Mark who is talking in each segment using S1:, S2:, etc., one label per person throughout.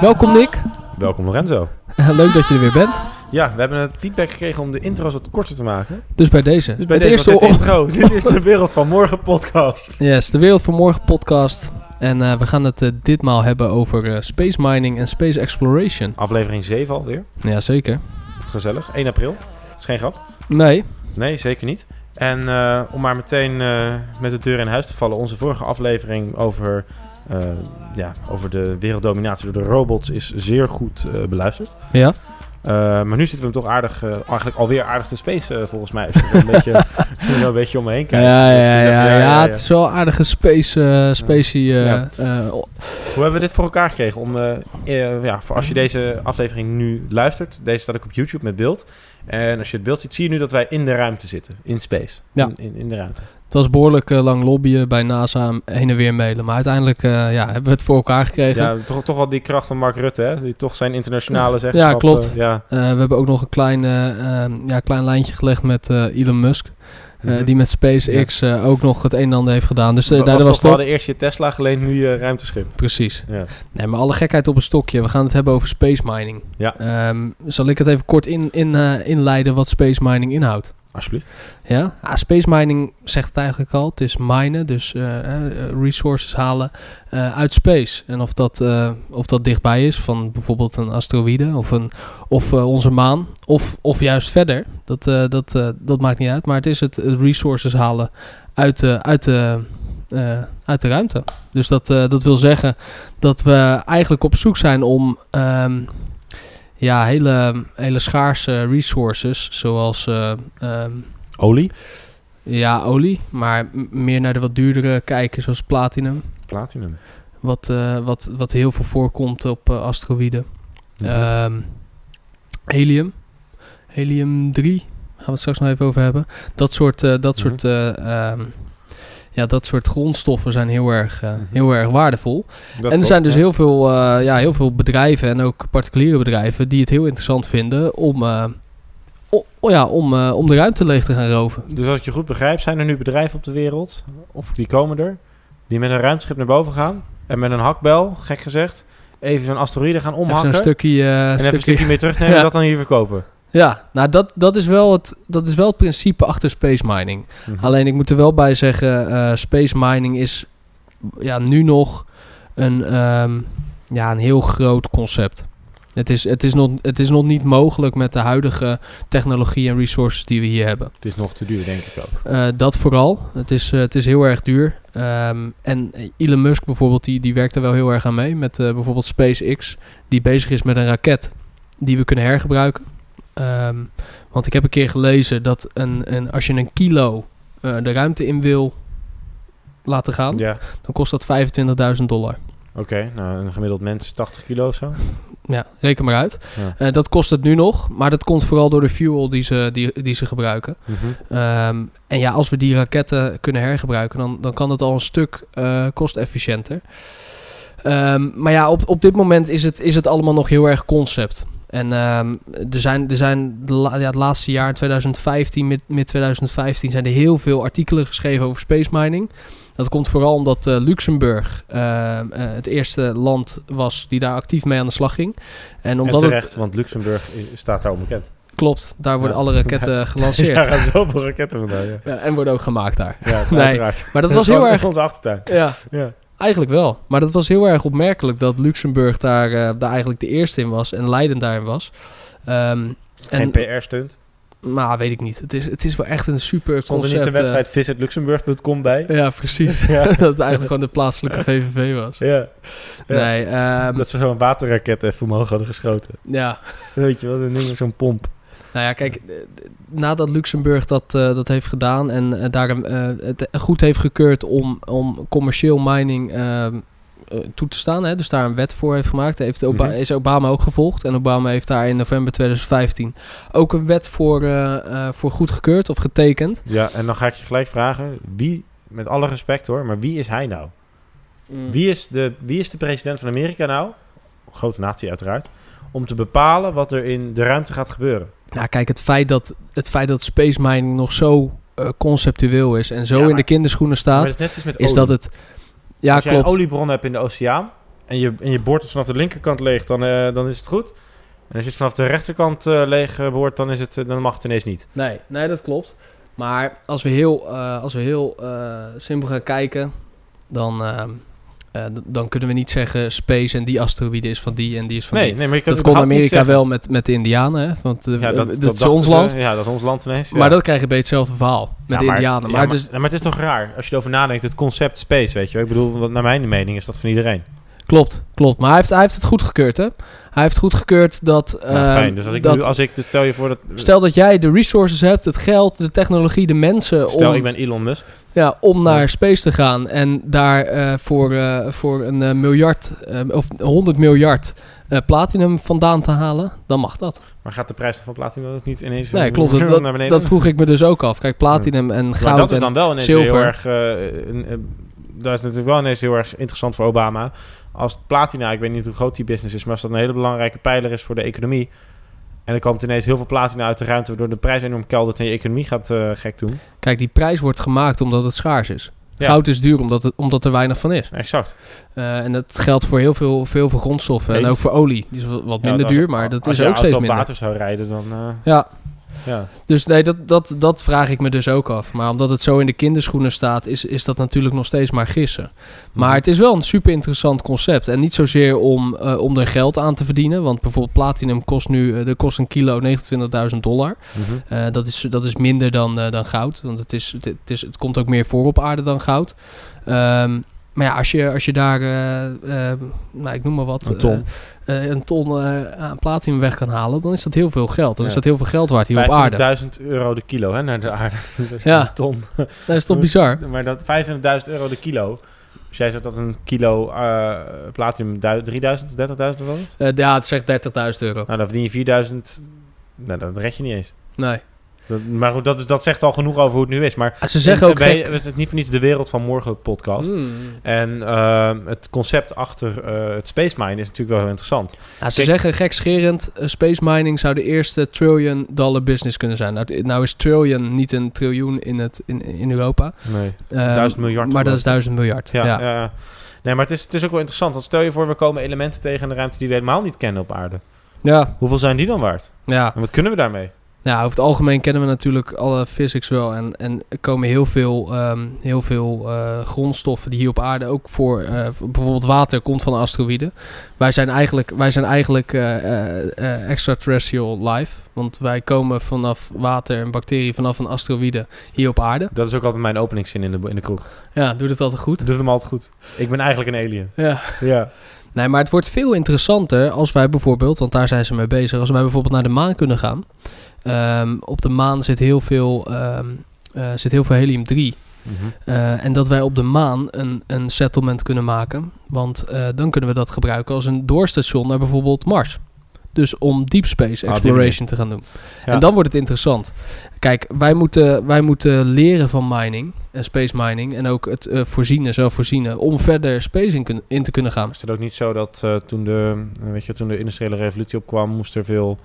S1: Welkom Nick.
S2: Welkom Lorenzo.
S1: Leuk dat je er weer bent.
S2: Ja, we hebben het feedback gekregen om de intro's wat korter te maken.
S1: Dus bij deze.
S2: Dus bij
S1: het
S2: deze
S1: eerste
S2: was dit
S1: ochtend-
S2: intro. Dit is de Wereld van Morgen podcast.
S1: Yes, de Wereld van Morgen podcast. En eh, we gaan het eh, ditmaal hebben over eh, space mining en space exploration.
S2: Aflevering 7 alweer.
S1: Jazeker.
S2: Gezellig. 1 april. Is geen grap.
S1: Nee.
S2: Nee, zeker niet. En eh, om maar meteen eh, met de deur in huis te vallen. Onze vorige aflevering over, eh, ja, over de werelddominatie door de robots is zeer goed eh, beluisterd.
S1: Ja.
S2: Eh, maar nu zitten we hem toch aardig, eh, eigenlijk alweer aardig te spacen eh, volgens mij. Als je er een beetje, als je er een beetje om me heen
S1: Ja,
S2: kijkt.
S1: ja,
S2: Dus,
S1: ja,
S2: eh,
S1: ja, Het is wel aardige space, eh spacey, eh,
S2: Ja.
S1: eh, o-
S2: Hoe hebben we dit voor elkaar gekregen? Om, eh, eh, ja, voor als je deze aflevering nu luistert, deze staat ook op YouTube met beeld. En als je het beeld ziet, zie je nu dat wij in de ruimte zitten, in space.
S1: Ja.
S2: In, in, in de ruimte.
S1: het was behoorlijk eh, lang lobbyen bij NASA en heen en weer mailen. Maar uiteindelijk eh, ja, hebben we het voor elkaar gekregen.
S2: Ja, toch, toch wel die kracht van Mark Rutte, hè? Die toch zijn internationale zegt.
S1: klopt.
S2: Ja.
S1: Eh, we hebben ook nog een klein, eh, eh, ja, klein lijntje gelegd met eh, Elon Musk. eh,
S2: Mhm.
S1: Die met SpaceX eh, ook nog het een en ander heeft gedaan. Dus eh, daar
S2: was
S1: was
S2: toch wel
S1: toch...
S2: de eerste je Tesla geleend, nu je ruimteschip.
S1: Precies.
S2: Ja.
S1: Nee, maar alle gekheid op een stokje. We gaan het hebben over space mining.
S2: Ja.
S1: Ehm, zal ik het even kort in, in, eh, inleiden wat space mining inhoudt?
S2: Alsjeblieft.
S1: Ja, ah, space mining zegt het eigenlijk al. Het is minen, dus eh, eh, resources halen eh, uit space. En of dat, eh, of dat dichtbij is van bijvoorbeeld een asteroïde of, een, of eh, onze maan. Of, of juist verder. Dat, eh, dat, eh, dat maakt niet uit. Maar het is het eh, resources halen uit, de uit, de eh, uit de ruimte. Dus dat, eh, dat wil zeggen dat we eigenlijk op zoek zijn om... ehm, ja, hele, hele schaarse resources, zoals eh, ehm,
S2: Olie.
S1: ja, olie, maar m- meer naar de wat duurdere kijken, zoals platinum.
S2: Platinum.
S1: Wat, eh, wat, wat heel veel voorkomt op eh, asteroïden.
S2: Mhm.
S1: Ehm, helium. Helium 3. Gaan we het straks nog even over hebben. Dat soort, eh, dat
S2: Mhm.
S1: soort, eh, ehm, ja, dat soort grondstoffen zijn heel erg, eh,
S2: Mhm.
S1: heel erg waardevol.
S2: Dat
S1: en er
S2: klopt,
S1: zijn dus
S2: ja.
S1: heel veel, eh, ja, heel veel bedrijven en ook particuliere bedrijven die het heel interessant vinden om, eh, o- o- ja, om, eh, om de ruimte leeg te gaan roven.
S2: Dus als ik je goed begrijp, zijn er nu bedrijven op de wereld, of die komen er, die met een ruimteschip naar boven gaan en met een hakbel, gek gezegd, even zo'n asteroïde gaan
S1: Even
S2: omhakken
S1: zo'n stukje, eh,
S2: en even een
S1: stukje
S2: stukje meer terugnemen en
S1: Ja.
S2: dat dan hier verkopen.
S1: Ja, nou dat, dat, is wel het, dat is wel het principe achter space mining.
S2: Mhm.
S1: Alleen ik moet er wel bij zeggen, eh, space mining is ja, nu nog een, ehm, ja, een heel groot concept. Het is, het, is nog, het is nog niet mogelijk met de huidige technologie en resources die we hier hebben.
S2: Het is nog te duur, denk ik ook.
S1: Eh, dat vooral. Het is, eh, het is heel erg duur. Ehm, en Elon Musk bijvoorbeeld, die, die werkt er wel heel erg aan mee. Met eh, bijvoorbeeld SpaceX, die bezig is met een raket die we kunnen hergebruiken. Ehm, want ik heb een keer gelezen dat een, een, als je een kilo eh, de ruimte in wil laten gaan,
S2: Ja,
S1: dan kost dat 25.000 dollar.
S2: oké. Nou, een gemiddeld mens is 80 kilo of zo.
S1: Ja, reken maar uit.
S2: Ja.
S1: Eh, dat kost het nu nog, maar dat komt vooral door de fuel die ze, die, die ze gebruiken.
S2: Mhm.
S1: Ehm, en ja, als we die raketten kunnen hergebruiken, dan, dan kan het al een stuk eh, kostefficiënter. Ehm, maar ja, op, op dit moment is het, is het allemaal nog heel erg concept. En ehm, er zijn, er zijn de la- ja, het laatste jaar, 2015, mid, mid 2015, zijn er heel veel artikelen geschreven over space mining. Dat komt vooral omdat eh, Luxemburg ehm, eh, het eerste land was die daar actief mee aan de slag ging. En
S2: En
S1: omdat
S2: terecht,
S1: het
S2: want Luxemburg i- staat daar onbekend.
S1: klopt, daar worden
S2: Ja.
S1: alle raketten
S2: Ja,
S1: gelanceerd.
S2: er gaan zoveel raketten vandaan, ja.
S1: Ja, en worden ook gemaakt daar.
S2: Ja,
S1: Nee.
S2: uiteraard.
S1: Maar dat was heel
S2: Gewoon
S1: erg.
S2: in onze achtertuin.
S1: Ja,
S2: Ja.
S1: eigenlijk wel. Maar dat was heel erg opmerkelijk dat Luxemburg daar, eh, daar eigenlijk de eerste in was en Leiden daarin was. Ehm
S2: Geen
S1: en,
S2: PR-stunt.
S1: maar weet ik niet. Het is, het is wel echt een super
S2: Stond er
S1: concept.
S2: niet de
S1: eh.
S2: website visitluxemburg.com bij?
S1: ja, precies.
S2: Ja.
S1: dat het eigenlijk gewoon de plaatselijke VVV was.
S2: Ja. Ja.
S1: Nee, ehm,
S2: Dat ze zo'n waterraket even omhoog hadden geschoten.
S1: ja.
S2: Weet je wel, zo'n ding met zo'n pomp.
S1: Nou ja, kijk, eh, nadat Luxemburg dat, eh, dat heeft gedaan en eh, daarom eh, het goed heeft gekeurd om, om commercieel mining ehm, eh, toe te staan, hè, dus daar een wet voor heeft gemaakt, heeft Oba-
S2: Mhm.
S1: is Obama ook gevolgd. En Obama heeft daar in november 2015 ook een wet voor, eh, eh, voor goedgekeurd of getekend.
S2: Ja, en dan ga ik je gelijk vragen, wie, met alle respect hoor, maar wie is hij nou?
S1: Hmm.
S2: Wie is de, wie is de president van Amerika nou? Grote natie uiteraard. Om te bepalen wat er in de ruimte gaat gebeuren.
S1: Nou, kijk, het feit dat, het feit dat space mining nog zo eh, conceptueel is en zo
S2: Ja,
S1: in
S2: maar-
S1: de kinderschoenen
S2: Maar
S1: staat,
S2: het is net zoals met
S1: is
S2: olie.
S1: dat het... Ja,
S2: Als jij een
S1: klopt.
S2: oliebron hebt in de oceaan en je, en je boort is vanaf de linkerkant leeg, dan, eh, dan is het goed. En als je het vanaf de rechterkant eh, leeg eh, boort, dan, is het, eh, dan mag het ineens niet.
S1: Nee, nee, dat klopt. Maar als we heel, eh, als we heel eh, simpel gaan kijken, dan, ehm, eh, d- dan kunnen we niet zeggen space en die asteroïde is van die en die is van
S2: Nee,
S1: die.
S2: nee, maar je kan
S1: Dat
S2: het
S1: kon
S2: überhaupt niet
S1: Amerika
S2: zeggen.
S1: wel met, met de Indianen, hè? want eh,
S2: Ja,
S1: eh,
S2: dat,
S1: dat,
S2: dat
S1: is
S2: dachten
S1: ons
S2: ze.
S1: land.
S2: Ja, dat is ons land ineens. ja.
S1: Maar dat krijg je bij hetzelfde verhaal met de
S2: Ja, maar-
S1: Indianen.
S2: ja,
S1: Maar, dus,
S2: maar het is toch raar als je erover nadenkt, het concept space, weet je wel. Ik bedoel, wat naar mijn mening is dat van iedereen.
S1: Klopt, klopt. Maar hij heeft, hij heeft het goedgekeurd, hè? Hij heeft goedgekeurd dat...
S2: Nou,
S1: ehm,
S2: fijn. Dus als ik,
S1: dat
S2: nu, als ik dus stel je voor dat...
S1: Stel dat jij de resources hebt, het geld, de technologie, de mensen
S2: stel,
S1: om,
S2: ik ben Elon Musk.
S1: ja, om
S2: Ja.
S1: naar space te gaan en daar eh, voor, eh, voor een eh, miljard eh, of 100 miljard eh, platinum vandaan te halen, dan mag dat.
S2: Maar gaat de prijs van platinum ook niet ineens
S1: Nee, klopt. Dat,
S2: naar
S1: dat,
S2: beneden?
S1: dat vroeg ik me dus ook af. Kijk, platinum en
S2: maar dat
S1: goud
S2: is
S1: en
S2: dan wel ineens weer heel
S1: zilver.
S2: erg... eh, een- een- dat is natuurlijk wel ineens heel erg interessant voor Obama. Als platina, ik weet niet hoe groot die business is... maar als dat een hele belangrijke pijler is voor de economie... en er komt ineens heel veel platina uit de ruimte... waardoor de prijs enorm keldert en je economie gaat eh, gek doen.
S1: Kijk, die prijs wordt gemaakt omdat het schaars is.
S2: Ja.
S1: Goud is duur omdat, het, omdat er weinig van is.
S2: Exact.
S1: Eh, en dat geldt voor heel veel, veel, veel grondstoffen en
S2: Weet.
S1: ook voor olie. Die is wat wat
S2: Ja,
S1: minder
S2: als-
S1: duur, maar dat
S2: als
S1: is
S2: je
S1: ook steeds
S2: auto op
S1: minder.
S2: water zou rijden, dan... eh,
S1: Ja,
S2: ja.
S1: dus nee, dat, dat, dat vraag ik me dus ook af. Maar omdat het zo in de kinderschoenen staat, is, is dat natuurlijk nog steeds maar gissen. Maar het is wel een super interessant concept. En niet zozeer om, eh, om er geld aan te verdienen. Want bijvoorbeeld platinum kost nu eh, er kost een kilo 29.000 dollar.
S2: Mhm.
S1: Eh, dat, is, dat is minder dan, eh, dan goud. Want het, is, het, het is, het komt ook meer voor op aarde dan goud. Ehm, maar ja, als je, als je daar, eh, eh, nou, ik noem maar wat,
S2: Een ton.
S1: eh, eh, een ton eh, aan platinum weg kan halen, dan is dat heel veel geld. Dan
S2: Ja.
S1: is dat heel veel geld waard hier op aarde.
S2: 25.000 euro de kilo hè, naar de aarde. Dat is
S1: Ja.
S2: een ton.
S1: Dat is toch bizar?
S2: Maar dat 25.000 euro de kilo. Dus jij zegt dat een kilo eh platinum du- 3000 of 30.000 of wat? Nou,
S1: Eh, ja, het zegt 30.000 euro.
S2: dan verdien je 4000. Nou, dat red je niet eens.
S1: Nee.
S2: Dat, maar goed, dat, is, dat zegt al genoeg over hoe het nu is. Maar
S1: Ah, Ze zeggen ook
S2: bij,
S1: gek-
S2: het is niet voor niets de wereld van morgen podcast.
S1: Hmm.
S2: En ehm, het concept achter eh, het space mine is natuurlijk wel heel interessant.
S1: Ja, Nou, ze
S2: Kijk-
S1: zeggen gekscherend, eh, space mining zou de eerste trillion dollar business kunnen zijn. Nou, nou is trillion niet een triljoen in, het, in, in Europa.
S2: Nee.
S1: Ehm,
S2: Duizend miljard
S1: Maar dat is
S2: geloof ik.
S1: duizend miljard.
S2: Ja,
S1: Ja,
S2: ja. Nee, maar het is, het is ook wel interessant. Want stel je voor, we komen elementen tegen in de ruimte die we helemaal niet kennen op aarde.
S1: ja,
S2: Hoeveel zijn die dan waard?
S1: ja.
S2: En wat kunnen we daarmee?
S1: Nou, over het algemeen kennen we natuurlijk alle physics wel. En, en er komen heel veel, ehm, heel veel eh, grondstoffen die hier op aarde ook voor. eh, voor- bijvoorbeeld water komt van asteroïden. Wij zijn eigenlijk, wij zijn eigenlijk eh, eh, eh, extraterrestrial life. Want wij komen vanaf water en bacteriën vanaf een asteroïde hier op aarde.
S2: Dat is ook altijd mijn openingszin in de, in de kroeg.
S1: Ja, doe dat altijd goed.
S2: Doe hem altijd goed. Ik ben eigenlijk een alien.
S1: Ja.
S2: Ja.
S1: Nee, maar het wordt veel interessanter als wij bijvoorbeeld, want daar zijn ze mee bezig, als wij bijvoorbeeld naar de maan kunnen gaan. Ehm, op de maan zit heel veel, ehm, eh, zit heel veel helium-3.
S2: Mhm.
S1: Eh, en dat wij op de maan een, een settlement kunnen maken. Want eh, dan kunnen we dat gebruiken als een doorstation naar bijvoorbeeld Mars. Dus om deep space
S2: Ah, op die
S1: exploration te gaan doen.
S2: Ja.
S1: En dan wordt het interessant. Kijk, wij moeten, wij moeten leren van mining en space mining. En ook het eh, voorzien, zelf voorzienen, om verder space in, kun- in te kunnen gaan.
S2: Is het ook niet zo dat eh, toen, de, eh, weet je, toen de industriële revolutie opkwam, moest er veel,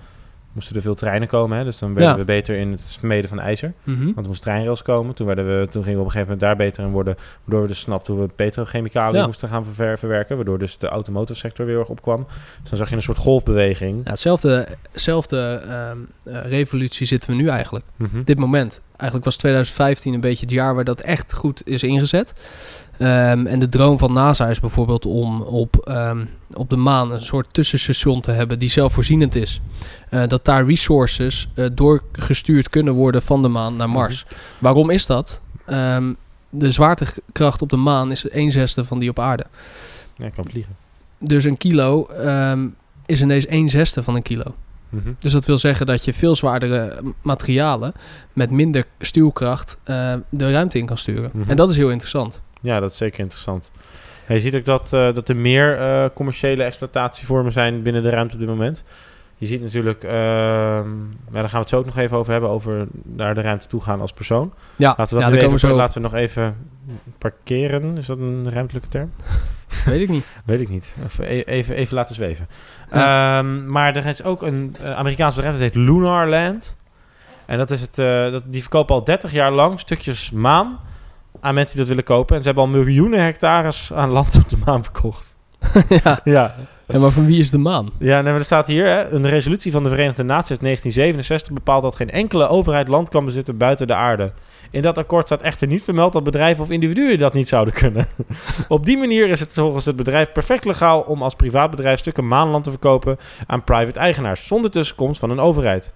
S2: moesten er veel treinen komen? Hè? Dus dan werden
S1: Ja.
S2: we beter in het smeden van ijzer.
S1: Mhm.
S2: Want er moest treinrails komen. Toen, werden we, toen gingen we op een gegeven moment daar beter in worden. Waardoor we dus snapten hoe we petrochemicaliën
S1: Ja.
S2: moesten gaan verver- verwerken. Waardoor dus de automotive sector weer erg opkwam. Dus dan zag je een soort golfbeweging.
S1: Ja, hetzelfde, hetzelfde ehm, eh, revolutie zitten we nu eigenlijk.
S2: Mhm.
S1: Op dit moment. Eigenlijk was 2015 een beetje het jaar waar dat echt goed is ingezet. Ehm, en de droom van NASA is bijvoorbeeld om op, ehm, op de maan een soort tussenstation te hebben die zelfvoorzienend is. Eh, dat daar resources eh, doorgestuurd kunnen worden van de maan naar Mars. Waarom is dat? Ehm, de zwaartekracht op de maan is 1 zesde van die op aarde.
S2: Ja, ik kan vliegen.
S1: Dus een kilo ehm, is ineens 1 zesde van een kilo.
S2: Mhm.
S1: Dus dat wil zeggen dat je veel zwaardere materialen met minder stuwkracht eh, de ruimte in kan sturen.
S2: Mhm.
S1: En dat is heel interessant.
S2: Ja, dat is zeker interessant. Ja, je ziet ook dat, eh, dat er meer eh, commerciële exploitatievormen zijn binnen de ruimte op dit moment. Je ziet natuurlijk, ehm, ja, daar gaan we het zo ook nog even over hebben, over naar de ruimte toe gaan als persoon.
S1: Ja,
S2: Laten
S1: ja daar
S2: we dat nu
S1: komen we
S2: even,
S1: zo. op.
S2: laten we nog even parkeren. Is dat een ruimtelijke term?
S1: Weet ik niet.
S2: Weet ik niet. Even, e- even, even laten zweven.
S1: Ja.
S2: Ehm, maar er is ook een eh, Amerikaans bedrijf dat heet Lunar Land. En dat is het, eh, dat, die verkopen al 30 jaar lang stukjes maan aan mensen die dat willen kopen. En ze hebben al miljoenen hectares aan land op de maan verkocht.
S1: ja.
S2: Ja,
S1: En maar van wie is de maan?
S2: ja en er staat hier, hè, een resolutie van de Verenigde Naties uit 1967 bepaalt dat geen enkele overheid land kan bezitten buiten de aarde. In dat akkoord staat echter niet vermeld dat bedrijven of individuen dat niet zouden kunnen. Op die manier is het volgens het bedrijf perfect legaal om als privaatbedrijf stukken maanland te verkopen aan private eigenaars, zonder tussenkomst van een overheid.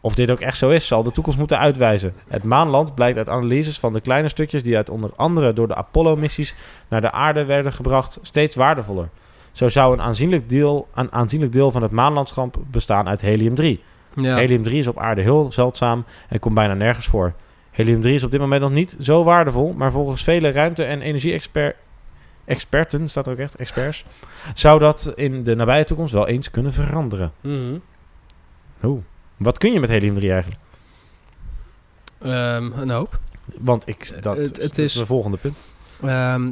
S2: Of dit ook echt zo is, zal de toekomst moeten uitwijzen. Het maanland blijkt uit analyses van de kleine stukjes die uit onder andere door de Apollo-missies naar de aarde werden gebracht steeds waardevoller. Zo zou een aanzienlijk deel, een aanzienlijk deel van het maanlandschap bestaan uit helium-3.
S1: Ja.
S2: Helium-3 is op aarde heel zeldzaam en komt bijna nergens voor. Helium-3 is op dit moment nog niet zo waardevol, maar volgens vele ruimte- en energie-experten, staat er ook echt, experts, zou dat in de nabije toekomst wel eens kunnen veranderen.
S1: Mhm.
S2: Oeh. Wat kun je met helium-3 eigenlijk?
S1: Ehm, een hoop.
S2: Want ik, dat,
S1: Het- het
S2: dat
S1: is-
S2: is mijn volgende punt.
S1: Ehm,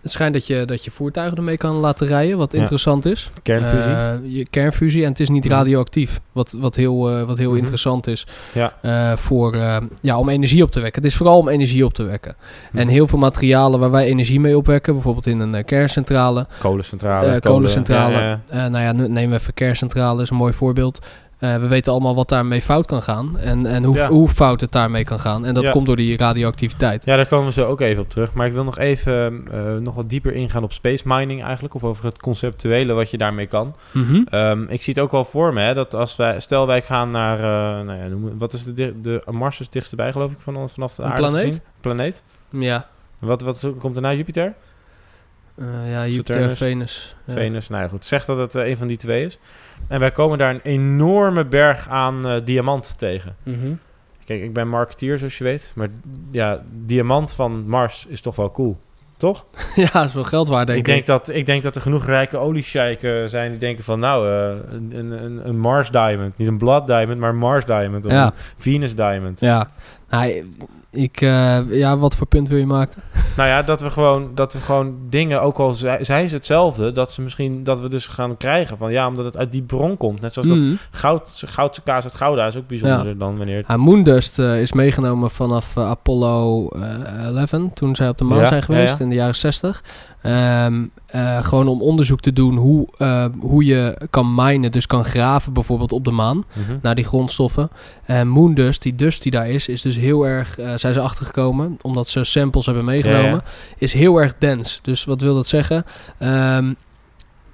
S1: het schijnt dat je, dat je voertuigen ermee kan laten rijden, wat
S2: Ja.
S1: interessant is.
S2: Kernfusie.
S1: Eh, je kernfusie en het is niet
S2: Mhm.
S1: radioactief. Wat, wat heel, eh, wat heel
S2: Mhm.
S1: interessant is
S2: Ja.
S1: eh, voor, eh, ja, om energie op te wekken. Het is vooral om energie op te wekken. En heel veel materialen waar wij energie mee opwekken, bijvoorbeeld in een eh, kerncentrale.
S2: kolencentrale.
S1: eh,
S2: kolen.
S1: kolencentrale.
S2: Ja, ja.
S1: Eh, nou ja, nu- neem even kerncentrale, is een mooi voorbeeld. Eh, we weten allemaal wat daarmee fout kan gaan en, en hoe,
S2: Ja.
S1: hoe fout het daarmee kan gaan. En dat
S2: Ja.
S1: komt door die radioactiviteit.
S2: Ja, daar komen we zo ook even op terug. Maar ik wil nog even eh, nog wat dieper ingaan op space mining eigenlijk. Of over het conceptuele wat je daarmee kan.
S1: Mhm.
S2: Ehm, ik zie het ook wel voor me, hè, dat als wij, stel wij gaan naar, eh, nou ja, noem, het- wat is de, di- de Mars is het dichtst bij, geloof ik, van, ons- vanaf de
S1: Een
S2: aarde
S1: planeet?
S2: gezien? Planeet.
S1: Ja,
S2: Wat, wat is- komt er na Jupiter?
S1: Eh, ja Jupiter,
S2: Saturnus.
S1: Venus. Ja.
S2: Venus. Nou ja, goed. Zeg dat het eh, een van die twee is. En wij komen daar een enorme berg aan eh, diamant tegen.
S1: Mhm.
S2: Kijk, ik ben marketeer, zoals je weet. Maar ja, diamant van Mars is toch wel cool, toch?
S1: ja, dat is wel geld waard, denk
S2: ik, denk dat, ik denk dat er genoeg rijke oliesheiken zijn die denken van... nou, eh, een, een- een, een Mars Diamond. Niet een Blood Diamond, maar een Mars Diamond. Of
S1: Ja.
S2: een Venus Diamond.
S1: Ja, nou, ik, eh, ja, wat voor punt wil je maken?
S2: Nou ja, dat we gewoon, dat we gewoon dingen, ook al zij- zijn ze hetzelfde... dat, ze misschien, dat we dus gaan krijgen van... ja, omdat het uit die bron komt. Net zoals dat
S1: Mm.
S2: goud, goudse kaas uit Gouda is ook bijzonderder dan wanneer... het-
S1: Ja, Moondust eh, is meegenomen vanaf eh, Apollo eh, 11, toen zij op de maan
S2: Ja,
S1: zijn
S2: ja,
S1: geweest
S2: ja.
S1: in de jaren 60. Ehm, eh, gewoon om onderzoek te doen hoe, eh, hoe je kan minen, dus kan graven bijvoorbeeld op de maan,
S2: Mhm.
S1: naar die grondstoffen. En Moondust, die dust die daar is, is dus heel erg, eh, zijn ze achtergekomen, omdat ze samples hebben meegenomen,
S2: Ja, ja.
S1: is heel erg dense. Dus wat wil dat zeggen? Ehm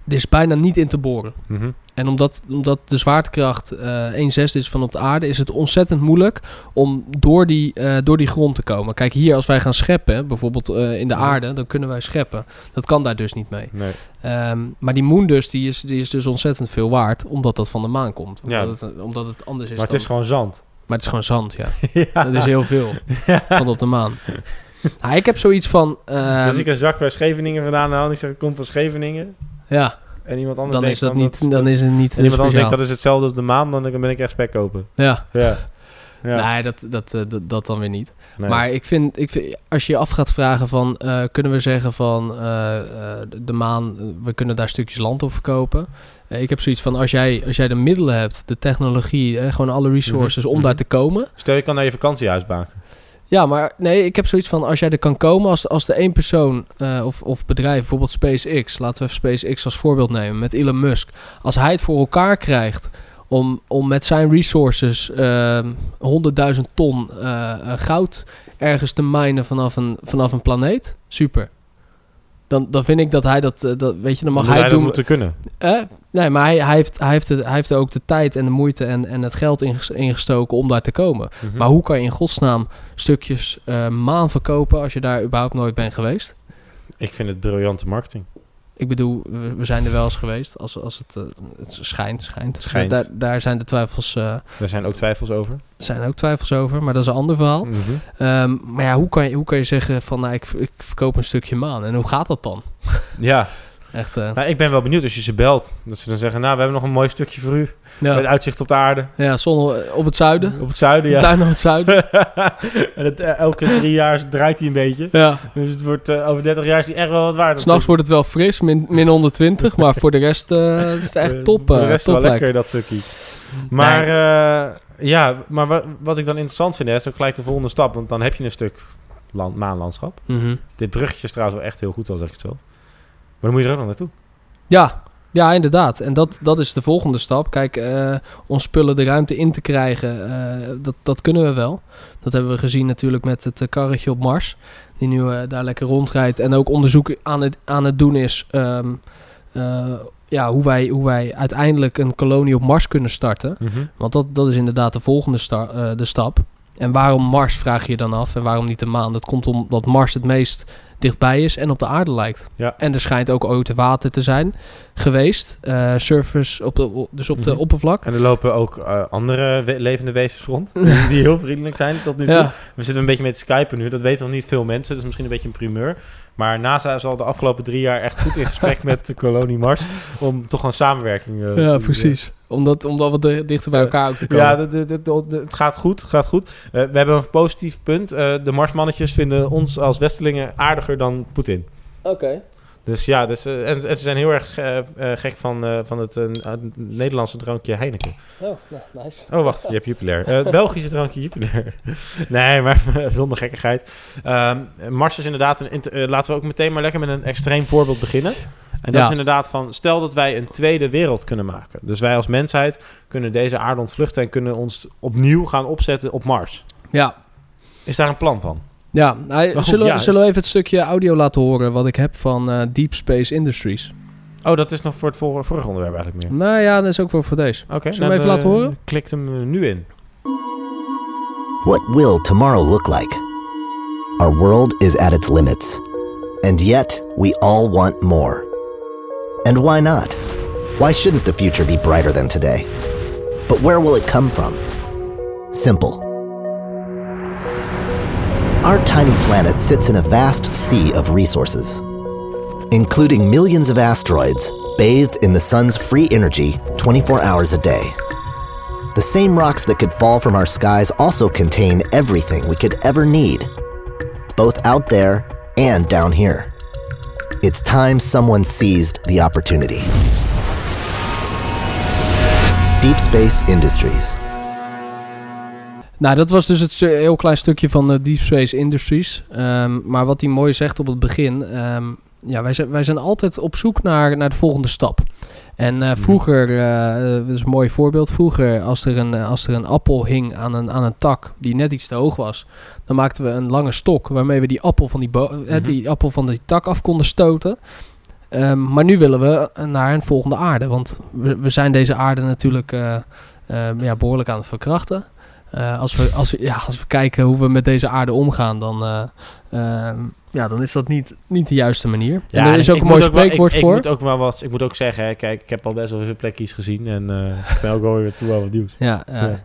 S1: dit is bijna niet in te boren.
S2: Mhm.
S1: En omdat, omdat de zwaartekracht eh 1 zesde is van op de aarde, is het ontzettend moeilijk om door die, eh, door die grond te komen. Kijk, hier als wij gaan scheppen, bijvoorbeeld eh, in de
S2: Ja.
S1: aarde, dan kunnen wij scheppen. Dat kan daar dus niet mee.
S2: Nee.
S1: Ehm, maar die moondust die is, die is dus ontzettend veel waard, omdat dat van de maan komt.
S2: Ja.
S1: Omdat, het, omdat het anders is
S2: Maar het
S1: dan-
S2: is gewoon zand.
S1: maar het is gewoon zand, ja.
S2: ja. Dus
S1: Dat is heel veel van op de maan. Nou, ik heb zoiets van... ehm,
S2: Als Dus ik een zak bij Scheveningen vandaan haal en ik zeg het komt van Scheveningen...
S1: ja,
S2: en iemand anders
S1: dan
S2: denkt
S1: is dat
S2: van,
S1: niet, dan is het niet
S2: En iemand anders
S1: speciaal.
S2: denkt dat is hetzelfde als de maan, dan ben ik echt spek kopen.
S1: Ja,
S2: Ja. ja.
S1: nee, dat, dat, eh, dat, dat dan weer niet.
S2: Nee.
S1: Maar ik vind, ik vind, als je je af gaat vragen van, eh, kunnen we zeggen van eh, eh, de maan, eh, we kunnen daar stukjes land op verkopen. Eh, ik heb zoiets van, als jij, als jij de middelen hebt, de technologie, eh, gewoon alle resources
S2: Mhm,
S1: om daar te komen.
S2: Stel, je kan naar je vakantiehuis maken.
S1: Ja, maar nee, ik heb zoiets van, als jij er kan komen, als, als de één persoon eh, of, of bedrijf, bijvoorbeeld SpaceX, laten we even SpaceX als voorbeeld nemen met Elon Musk. Als hij het voor elkaar krijgt om, om met zijn resources ehm 100.000 ton eh, eh, goud ergens te minen vanaf een, vanaf een planeet, super. Dan, dan vind ik dat hij dat, eh, dat weet je, dan mag
S2: Moet
S1: hij,
S2: dat
S1: doen.
S2: moeten kunnen.
S1: Eh? Nee, maar hij, hij, heeft, hij, heeft, het- hij heeft er ook de tijd en de moeite en, en het geld inges- ingestoken om daar te komen.
S2: Mhm.
S1: Maar hoe kan je in godsnaam stukjes eh, maan verkopen als je daar überhaupt nooit bent geweest?
S2: Ik vind het briljante marketing.
S1: Ik bedoel, we, we zijn er wel eens geweest. Als, als het, eh, het schijnt, schijnt.
S2: Schijnt.
S1: Daar, daar zijn de twijfels, eh,
S2: Daar zijn ook twijfels over.
S1: zijn ook twijfels over, maar dat is een ander verhaal.
S2: Mhm.
S1: Ehm, maar ja, hoe kan, je, hoe kan je zeggen van, nou, ik, ik verkoop een stukje maan. En hoe gaat dat dan?
S2: Ja,
S1: Echt, eh,
S2: nou, ik ben wel benieuwd als je ze belt. Dat ze dan zeggen, nou, we hebben nog een mooi stukje voor u. Met
S1: ja.
S2: uitzicht op de aarde.
S1: ja, zon op het zuiden.
S2: Op het zuiden,
S1: De
S2: ja.
S1: tuin op het zuiden.
S2: en het, eh, elke drie jaar draait hij een beetje.
S1: Ja.
S2: Dus het wordt, eh, over 30 jaar is hij echt wel wat waard.
S1: S'nachts wordt het wel fris, min, min 120, maar voor de rest eh, is het
S2: Dat-
S1: echt top.
S2: Voor
S1: eh,
S2: de rest
S1: top
S2: wel
S1: lijkt.
S2: lekker, dat stukje. Maar eh, ja, maar wat, wat ik dan interessant vind, hè, is ook gelijk de volgende stap. Want dan heb je een stuk land, maanlandschap.
S1: Mhm.
S2: Dit bruggetje is trouwens wel echt heel goed, al zeg ik het wel. Maar dan moet je er ook nog naartoe.
S1: Ja, ja, inderdaad. En dat, dat is de volgende stap. Kijk, eh ons spullen de ruimte in te krijgen, eh, dat, dat kunnen we wel. Dat hebben we gezien natuurlijk met het eh, karretje op Mars, die nu eh, daar lekker rondrijdt en ook onderzoek aan het, aan het doen is. ehm, eh, ja, hoe wij, hoe wij uiteindelijk een kolonie op Mars kunnen starten. Want dat, dat is inderdaad de volgende sta- eh, de stap. En waarom Mars, vraag je je dan af. En waarom niet de maan? Dat komt omdat Mars het meest dichtbij is en op de aarde lijkt.
S2: Ja.
S1: En er schijnt ook ooit water te zijn geweest. eh surface, op de, dus op de
S2: Mhm.
S1: oppervlak.
S2: En er lopen ook eh, andere we- levende wezens rond. Die die heel vriendelijk zijn tot nu toe.
S1: Ja.
S2: We zitten een beetje met Skype nu. Dat weten nog niet veel mensen. Dat is misschien een beetje een primeur. Maar NASA is al de afgelopen drie jaar echt goed in gesprek met de kolonie Mars. Om toch gewoon samenwerking eh,
S1: ja,
S2: te-
S1: precies. Omdat, omdat we de- dichter bij
S2: Ja.
S1: elkaar ook te komen.
S2: Ja, de- de- de- de- de- het gaat goed. Het gaat goed. Eh, we hebben een positief punt. Eh, de Marsmannetjes vinden ons als Westelingen aardiger dan Poetin.
S1: Oké.
S2: Dus ja, dus, eh, en, en ze zijn heel erg eh, eh, gek van, eh, van het eh, Nederlandse drankje Heineken.
S1: Oh, nice.
S2: Oh, wacht. Je hebt Jupiler. Eh, Belgische drankje Jupiler. nee, maar zonder gekkigheid. Ehm, Mars is inderdaad... Een inter- eh, laten we ook meteen maar lekker met een extreem voorbeeld beginnen. En dat
S1: Ja.
S2: is inderdaad van... Stel dat wij een tweede wereld kunnen maken. Dus wij als mensheid kunnen deze aarde ontvluchten... en kunnen ons opnieuw gaan opzetten op Mars.
S1: Ja.
S2: Is daar een plan van?
S1: Ja, nou,
S2: goed,
S1: zullen,
S2: ja,
S1: we- zullen we even het stukje audio laten horen wat ik heb van eh, Deep Space Industries?
S2: Oh, dat is nog voor het vorige, vorige onderwerp eigenlijk meer.
S1: Nou ja, dat is ook wel voor deze.
S2: Oké, okay,
S1: Zullen we even laten horen?
S2: Klikt hem eh, nu in.
S3: What will tomorrow look like? Our world is at its limits. And yet, we all want more. And why not? Why shouldn't the future be brighter than today? But where will it come from? Simple. Our tiny planet sits in a vast sea of resources, including millions of asteroids bathed in the sun's free energy 24 hours a day. The same rocks that could fall from our skies also contain everything we could ever need, both out there and down here. It's time someone seized the opportunity. Deep Space Industries.
S1: Nou, dat was dus het stu- heel klein stukje van eh, Deep Space Industries. Ehm, maar wat hij mooi zegt op het begin. ehm, ja, wij zijn, wij zijn altijd op zoek naar, naar de volgende stap. En eh, vroeger, eh, eh, dat is een mooi voorbeeld. Vroeger, als er een, eh, als er een appel hing aan een, aan een tak die net iets te hoog was, dan maakten we een lange stok waarmee we die appel van die, bo- eh,
S2: Mhm.
S1: die, appel van die tak af konden stoten. Ehm, maar nu willen we eh, naar een volgende aarde. Want we, we zijn deze aarde natuurlijk eh, eh, ja, behoorlijk aan het verkrachten. Eh, als, we, als, we, ja, als we kijken hoe we met deze aarde omgaan, dan, eh, ehm, ja, dan is dat niet, niet de juiste manier. en er
S2: en
S1: is
S2: ik-
S1: ook een
S2: ik
S1: mooi
S2: moet wel- ik-
S1: spreekwoord
S2: ik,
S1: voor.
S2: moet ook wel wat, ik moet ook zeggen, hè, kijk, ik heb al best wel veel plekjes gezien. En eh, ik ben ook alweer toe aan wat nieuws.
S1: ja, ja.
S2: Ja.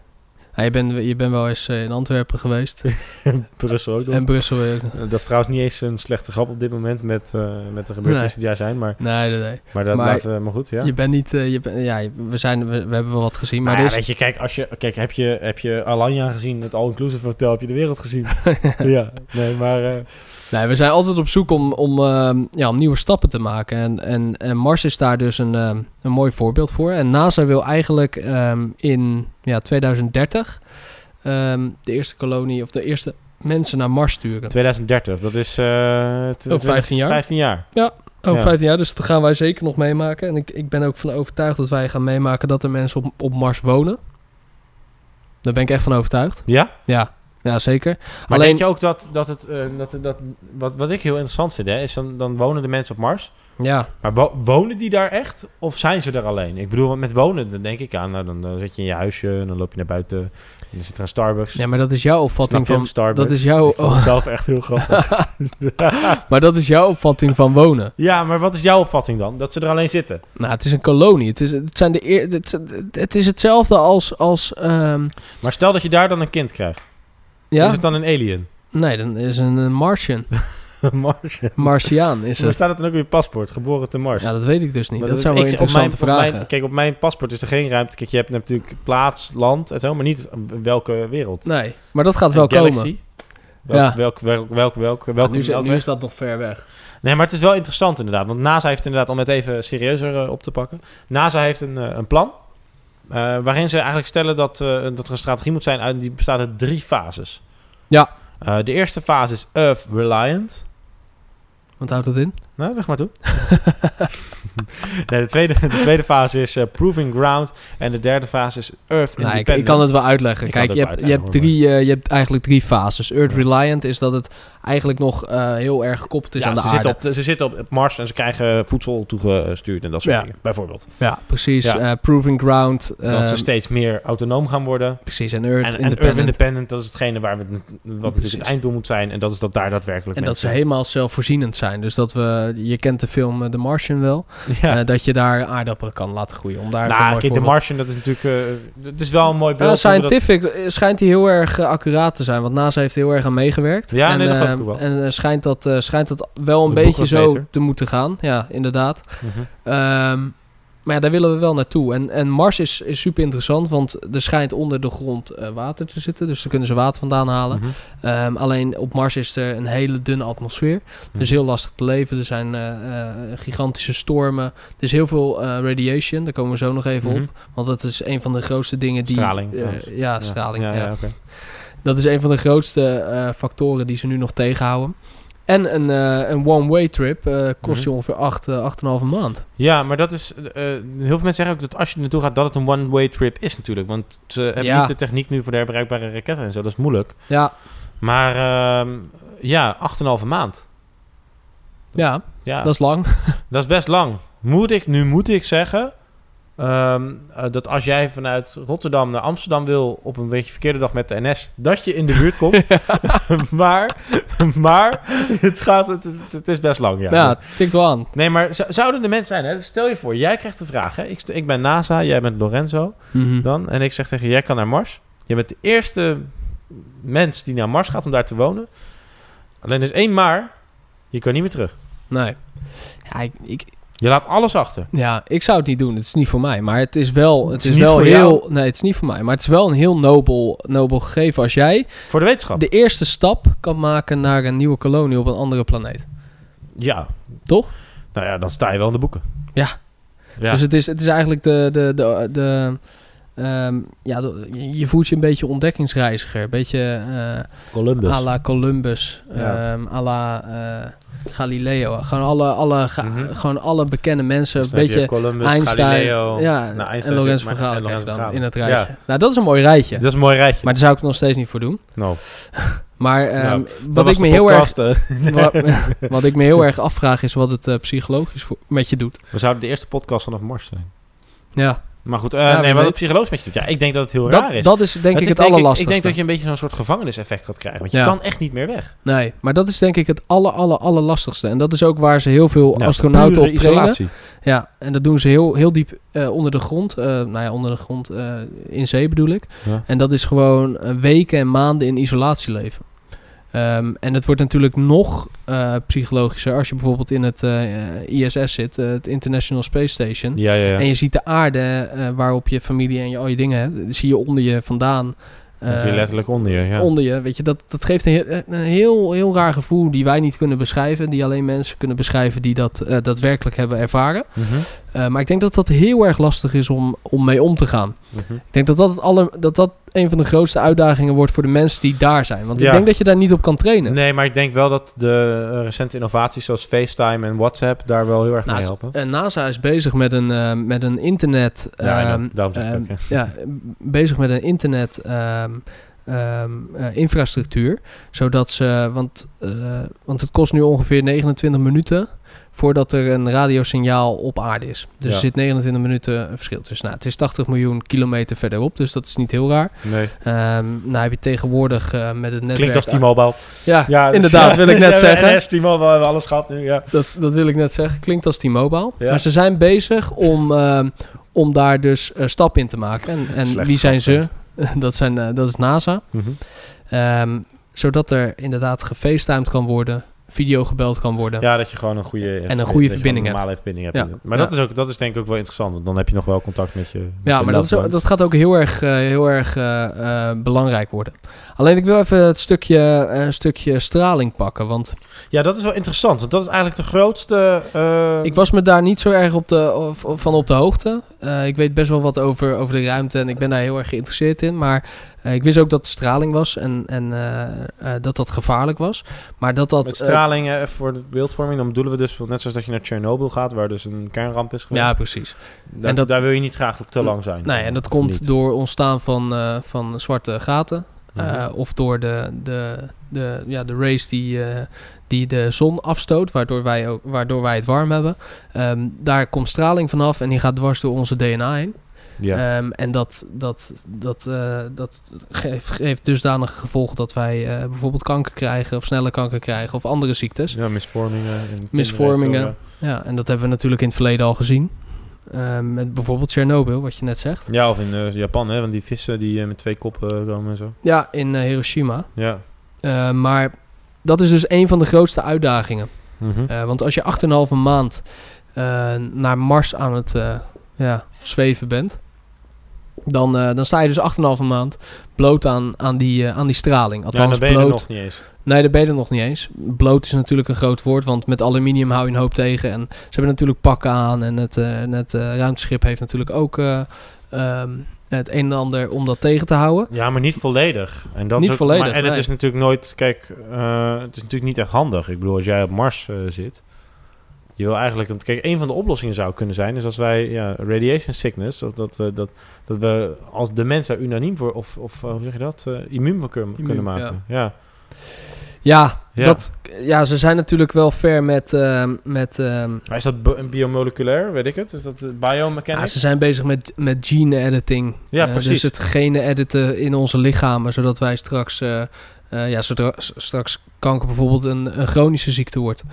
S1: Ja, je, bent, je bent wel eens eh, in Antwerpen geweest.
S2: Brussel ook nog.
S1: en Brussel weer ook nog.
S2: Dat is trouwens niet eens een slechte grap op dit moment met, eh, met de gebeurtenissen die daar zijn. Maar,
S1: Nee, nee, nee.
S2: maar dat
S1: Maar-
S2: laten we maar goed, ja.
S1: Je bent niet... eh, je bent- ja, je- we, zijn, we, we hebben wel wat gezien, maar
S2: Nou ja,
S1: dit is-
S2: weet je, kijk, als je, kijk heb, je, heb je Alanya gezien, het all-inclusive hotel, heb je de wereld gezien. ja, nee, maar... eh,
S1: Nee, we zijn altijd op zoek om, om, ehm, ja, om nieuwe stappen te maken. En, en, en Mars is daar dus een, ehm, een mooi voorbeeld voor. En NASA wil eigenlijk ehm, in ja, 2030 ehm, de eerste kolonie of de eerste mensen naar Mars sturen.
S2: 2030, dat is... eh tw-
S1: Oh, 15 jaar.
S2: 15 jaar.
S1: Over
S2: Ja.
S1: 15 jaar, dus dat gaan wij zeker nog meemaken. En ik, ik ben ook van overtuigd dat wij gaan meemaken dat er mensen op, op Mars wonen. Daar ben ik echt van overtuigd.
S2: Ja?
S1: Ja, ja zeker.
S2: Maar
S1: Alleen-
S2: denk je ook dat, dat het... eh, dat, dat, wat, wat ik heel interessant vind, hè, is dan, dan wonen de mensen op Mars.
S1: Ja,
S2: Maar wo- wonen die daar echt? Of zijn ze er alleen? Ik bedoel, want met wonen, dan denk ik aan... Nou, dan, eh, zit je in je huisje en dan loop je naar buiten. En dan zit er een Starbucks.
S1: ja maar dat is jouw
S2: Snap
S1: opvatting
S2: je hem,
S1: van...
S2: Starbucks?
S1: Dat is Oh, jouw,
S2: Ik vond het zelf echt heel grappig.
S1: maar dat is jouw opvatting van wonen.
S2: ja, maar wat is jouw opvatting dan? Dat ze er alleen zitten?
S1: Nou, het is een kolonie. Het is, het zijn de eer, het, zijn- het is hetzelfde als. als ehm,
S2: Maar stel dat je daar dan een kind krijgt.
S1: ja?
S2: Is het dan een alien?
S1: Nee, dan is een, een Martian.
S2: Mars.
S1: Martiaan is
S2: Maar
S1: het.
S2: staat het dan ook op je paspoort? Geboren te Mars.
S1: Ja, dat weet ik dus niet.
S2: Maar
S1: dat
S2: is-
S1: zou wel
S2: ik- op mijn-
S1: interessante
S2: op mijn-
S1: vragen.
S2: Kijk, op mijn paspoort is er geen ruimte. Kijk, je hebt natuurlijk plaats, land en zo, maar niet eh, welke wereld.
S1: Nee, maar dat gaat wel
S2: En
S1: komen.
S2: Galaxy? Welk,
S1: Ja.
S2: welk, welk, welk, welk,
S1: Nou,
S2: welke
S1: nu, is,
S2: welke
S1: nu is dat nog ver weg.
S2: Nee, maar het is wel interessant inderdaad. Want NASA heeft inderdaad, om het even serieuzer eh, op te pakken. NASA heeft een, eh, een plan. Eh, waarin ze eigenlijk stellen dat, eh, dat er een strategie moet zijn uit die bestaat uit drie fases.
S1: Ja.
S2: Eh, de eerste fase is Earth Reliant.
S1: Wat houdt dat in?
S2: Nou, leg maar toe. nee, de, tweede, de tweede fase is eh, Proving Ground. En de derde fase is Earth
S1: Nou, ik,
S2: Independent.
S1: ik kan het wel uitleggen.
S2: Ik kan
S1: Kijk,
S2: het
S1: je
S2: ook
S1: hebt, je, hebt
S2: uitleggen,
S1: drie, eh, je hebt eigenlijk drie fases. Earth
S2: Ja.
S1: Reliant is dat het eigenlijk nog eh, heel erg gekoppeld is
S2: Ja,
S1: aan de
S2: ze,
S1: aarde.
S2: Zitten op, ze zitten op Mars en ze krijgen voedsel toegestuurd en dat soort
S1: Ja.
S2: dingen, bijvoorbeeld.
S1: Ja, precies.
S2: Ja.
S1: eh, proving Ground.
S2: dat ze
S1: eh,
S2: steeds meer autonoom gaan worden.
S1: precies, en Earth
S2: En, en Earth
S1: Independent.
S2: Independent, dat is hetgene waar we, wat natuurlijk het
S1: Precies.
S2: einddoel moet zijn. En dat is dat daar daadwerkelijk
S1: En dat ze
S2: mensen-
S1: helemaal zelfvoorzienend zijn. Dus dat we... Je kent de film eh, The Martian wel.
S2: Ja.
S1: Eh, dat je daar aardappelen kan laten groeien. Om daar even een
S2: nou,
S1: mooi
S2: kijk, de
S1: voorbeeld-
S2: Martian, dat is natuurlijk... eh, het is wel een mooi
S1: Ja,
S2: beeld. omdat-
S1: scientific eh, schijnt hij heel erg eh, accuraat te zijn. Want NASA heeft er heel erg aan meegewerkt.
S2: Ja,
S1: en,
S2: nee, dat
S1: eh,
S2: geloof ik ook wel.
S1: En eh, schijnt, dat, eh, schijnt dat wel een
S2: De
S1: beetje zo
S2: boekrotmeter.
S1: te moeten gaan. Ja, inderdaad.
S2: Mhm.
S1: Ehm, maar ja, daar willen we wel naartoe. En, en Mars is, is super interessant, want er schijnt onder de grond eh, water te zitten. Dus daar kunnen ze water vandaan halen.
S2: Mhm.
S1: Ehm, alleen op Mars is er een hele dunne atmosfeer. Dus
S2: Mhm.
S1: heel lastig te leven. Er zijn eh, eh, gigantische stormen. Er is heel veel eh, radiation. Daar komen we zo nog even
S2: Mhm.
S1: op. Want dat is een van de grootste dingen die...
S2: Straling,
S1: eh,
S2: trouwens.
S1: ja, straling.
S2: Ja,
S1: ja.
S2: ja, oké.
S1: Dat is een van de grootste eh, factoren die ze nu nog tegenhouden. En een, eh, een one-way trip eh, kost je
S2: Mhm.
S1: ongeveer 8, eh, 8,5 maand.
S2: Ja, maar dat is... eh, eh, heel veel mensen zeggen ook dat als je er naartoe gaat, dat het een one-way trip is natuurlijk. Want ze hebben
S1: Ja.
S2: niet de techniek nu voor de herbruikbare raketten en zo. Dat is moeilijk.
S1: Ja,
S2: Maar ehm, ja, 8,5 maand.
S1: ja
S2: Ja,
S1: dat is lang.
S2: Dat is best lang. Moet ik, nu moet ik zeggen ehm, eh, dat als jij vanuit Rotterdam naar Amsterdam wil op een beetje verkeerde dag met de NS, dat je in de buurt komt. maar maar het, gaat, het, is, het is best lang. Ja.
S1: Ja, tikt wel aan.
S2: Nee, maar zo- zouden de mensen zijn, hè? Dus stel je voor, jij krijgt de vraag. Hè? Ik, st- ik ben NASA, jij bent Lorenzo
S1: Hm.
S2: dan. En ik zeg tegen je, jij kan naar Mars. Je bent de eerste mens die naar Mars gaat om daar te wonen. Alleen is één maar, je kan niet meer terug.
S1: Nee. Ja ik, ik,
S2: Je laat alles achter.
S1: ja, ik zou het niet doen. Het is niet voor mij. Maar het is wel, het
S2: is
S1: is
S2: niet
S1: wel
S2: voor
S1: heel. Nee, het is niet voor mij. Maar het is wel een heel nobel, nobel gegeven als jij
S2: Voor de wetenschap.
S1: de eerste stap kan maken naar een nieuwe kolonie op een andere planeet.
S2: Ja.
S1: Toch?
S2: Nou ja, dan sta je wel in de boeken.
S1: Ja.
S2: Ja,
S1: Dus het is, het is eigenlijk de. de, de, de ehm, ja, de- je- je voelt je een beetje ontdekkingsreiziger. Een beetje eh
S2: Columbus.
S1: à la Columbus,
S2: Dus- Ja.
S1: ehm à la eh, Galileo. Gewoon alle, alle, ga-
S2: Mhm.
S1: gewoon alle bekende mensen.
S2: Dus
S1: een
S2: dan heb je
S1: beetje
S2: Columbus,
S1: Einstein,
S2: Galileo.
S1: ja,
S2: Nou, Einstein
S1: en Lorenz
S2: zit- maar-
S1: van Gaal
S2: en
S1: krijg je
S2: Lorenz van
S1: dan
S2: Gaal.
S1: in het
S2: Ja.
S1: rijtje. Nou, dat is een mooi rijtje.
S2: Dat is een mooi rijtje.
S1: Maar daar zou ik het nog steeds niet voor doen.
S2: Nou,
S1: Maar ehm,
S2: Nou,
S1: wat, ik me heel erg,
S2: podcast, eh.
S1: wat, wat ik me heel erg afvraag is wat het eh, psychologisch voor, met je doet.
S2: We zouden de eerste podcast vanaf Mars zijn.
S1: Ja,
S2: Maar goed, eh,
S1: Ja, wie
S2: nee, wat
S1: weet.
S2: het psychologisch met je doet. Ja, ik denk dat het heel raar
S1: dat,
S2: is.
S1: dat is denk ik
S2: is
S1: het
S2: denk
S1: allerlastigste.
S2: Ik denk dat je een beetje zo'n soort gevangeniseffect gaat krijgen. Want je
S1: Ja.
S2: kan echt niet meer weg.
S1: Nee, maar dat is denk ik het aller, aller, allerlastigste. En dat is ook waar ze heel veel
S2: Ja,
S1: astronauten
S2: Nou, pure
S1: op trainen.
S2: isolatie.
S1: Ja, en dat doen ze heel, heel diep eh, onder de grond. Eh, nou ja, onder de grond eh, in zee bedoel ik.
S2: Ja.
S1: En dat is gewoon eh, weken en maanden in isolatie leven. Ehm, en het wordt natuurlijk nog eh, psychologischer als je bijvoorbeeld in het eh, ISS zit, eh, het International Space Station.
S2: Ja, ja, ja.
S1: En je ziet de aarde eh, waarop je familie en je, al je dingen hebt, zie je onder je vandaan.
S2: Dat is
S1: eh,
S2: hier letterlijk onder je. Ja.
S1: onder je. Weet je, dat, dat geeft een heel, eh, een heel, heel raar gevoel die wij niet kunnen beschrijven. Die alleen mensen kunnen beschrijven die dat eh, daadwerkelijk hebben ervaren.
S2: Mhm,
S1: Eh, maar ik denk dat dat heel erg lastig is om, om mee om te gaan.
S2: mhm.
S1: Ik denk dat dat, het aller, dat dat een van de grootste uitdagingen wordt voor de mensen die daar zijn. Want ik
S2: Ja.
S1: denk dat je daar niet op kan trainen.
S2: Mhm. Nee, maar ik denk wel dat de eh, recente innovaties zoals FaceTime en WhatsApp daar wel heel erg
S1: Nou,
S2: mee
S1: het-
S2: helpen.
S1: eh, NASA is bezig met een, eh, met een internet.
S2: Ja,
S1: ehm,
S2: I know. daarom zeg ik het
S1: ehm,
S2: ook, ja.
S1: ja, bezig met een internet ehm, ehm, eh, infrastructuur. Zodat ze, want, eh, want het kost nu ongeveer 29 minuten voordat er een radiosignaal op aarde is. Dus
S2: Ja.
S1: er zit 29 minuten een verschil tussen. Nou, het is 80 miljoen kilometer verderop, dus dat is niet heel raar.
S2: Nee.
S1: Ehm nou heb je tegenwoordig eh, met het netwerk...
S2: Klinkt als T-Mobile.
S1: Ja,
S2: Ja, dus-
S1: inderdaad, wil ik net
S2: Ja,
S1: zeggen.
S2: NS, T-Mobile, we hebben alles gehad nu, ja.
S1: Dat, dat wil ik net zeggen. Klinkt als T-Mobile.
S2: Ja.
S1: Maar ze zijn bezig om, ehm, om daar dus eh, stap in te maken. En, en
S2: Slecht
S1: wie zijn ze?
S2: grap,
S1: Dat, zijn, Mhm. eh, dat is NASA. Ehm, zodat er inderdaad gefacetimed kan worden. video gebeld kan worden.
S2: Ja, dat je gewoon een goede
S1: En een goede verbinding
S2: hebt. normale verbinding
S1: Ja.
S2: hebt. Maar dat
S1: Ja.
S2: is ook dat is denk ik ook wel interessant, want dan heb je nog wel contact met je. met
S1: Ja,
S2: je
S1: maar dat, is,
S2: loved
S1: ook-
S2: ones.
S1: dat gaat ook heel erg, eh, heel erg eh, eh, belangrijk worden. Alleen ik wil even het stukje, eh, stukje straling pakken. Want
S2: Ja, dat is wel interessant, want dat is eigenlijk de grootste. eh,
S1: ik was me daar niet zo erg op de, of- of van op de hoogte. Eh, ik weet best wel wat over, over de ruimte en ik ben daar heel erg geïnteresseerd in. Maar eh, ik wist ook dat straling was en, en eh, eh, dat dat gevaarlijk was. Maar dat dat...
S2: Met
S1: eh,
S2: straling eh, voor de beeldvorming, dan bedoelen we dus net zoals dat je naar Tsjernobyl gaat, waar dus een kernramp is geweest.
S1: ja,
S2: Ja,
S1: precies. en
S2: en
S1: dat-
S2: daar wil je niet graag te lang zijn.
S1: Nee, en dat
S2: Of
S1: komt
S2: niet.
S1: door ontstaan van, eh, van zwarte gaten.
S2: Mhm.
S1: Eh, of door de, de, de, ja, de rays die, eh, die de zon afstoot, waardoor wij, ook, waardoor wij het warm hebben. Ehm, daar komt straling vanaf en die gaat dwars door onze DNA heen.
S2: ja.
S1: Ehm, en dat, dat, dat, eh, dat geeft, geeft dusdanige gevolgen dat wij eh, bijvoorbeeld kanker krijgen, of snelle kanker krijgen, of andere ziektes.
S2: ja, misvormingen. in
S1: dus- Misvormingen.
S2: kinderrechten.
S1: Ja, en dat hebben we natuurlijk in het verleden al gezien. Ehm, met bijvoorbeeld Tsjernobyl, wat je net zegt.
S2: Ja, of in eh, Japan, hè, want die vissen die eh, met twee koppen eh, komen en zo.
S1: Ja, in eh, Hiroshima.
S2: Ja.
S1: Eh, maar dat is dus een van de grootste uitdagingen.
S2: Mhm.
S1: Eh, want als je 8,5 maand eh, naar Mars aan het eh, ja, zweven bent, dan, eh, dan sta je dus 8,5 maand bloot aan, aan, die, eh, aan die straling.
S2: ja,
S1: Althans,
S2: dan ben je er
S1: bloot.
S2: nog niet eens.
S1: Nee, daar ben je er nog niet eens. Bloot is natuurlijk een groot woord, want met aluminium hou je een hoop tegen. En ze hebben natuurlijk pakken aan en het, eh, en het eh, ruimteschip heeft natuurlijk ook eh, ehm, het een en ander om dat tegen te houden.
S2: Ja, maar niet volledig. En dat
S1: Niet
S2: is ook-
S1: volledig,
S2: Maar, en het
S1: nee.
S2: is natuurlijk nooit, kijk, eh, het is natuurlijk niet echt handig. Ik bedoel, als jij op Mars eh, zit, je wil eigenlijk, want kijk, een van de oplossingen zou kunnen zijn, is als wij ja, radiation sickness, of dat we, dat, dat we als de mens daar unaniem voor, of, of eh, hoe zeg je dat, eh, immuun voor kunnen,
S1: Immuun,
S2: kunnen maken. Ja. Ja.
S1: Ja, Dat, ja ze zijn natuurlijk wel ver met, ehm, met ehm,
S2: Maar is dat bi- biomoleculair, weet ik het? Is dat eh,
S1: Ja,
S2: biomechanics?
S1: ze zijn bezig met, met gene editing.
S2: Ja,
S1: Eh, Dus
S2: precies.
S1: het genen editen in onze lichamen, zodat wij straks, eh, eh, ja, zodra, s- straks kanker bijvoorbeeld een, een chronische ziekte wordt.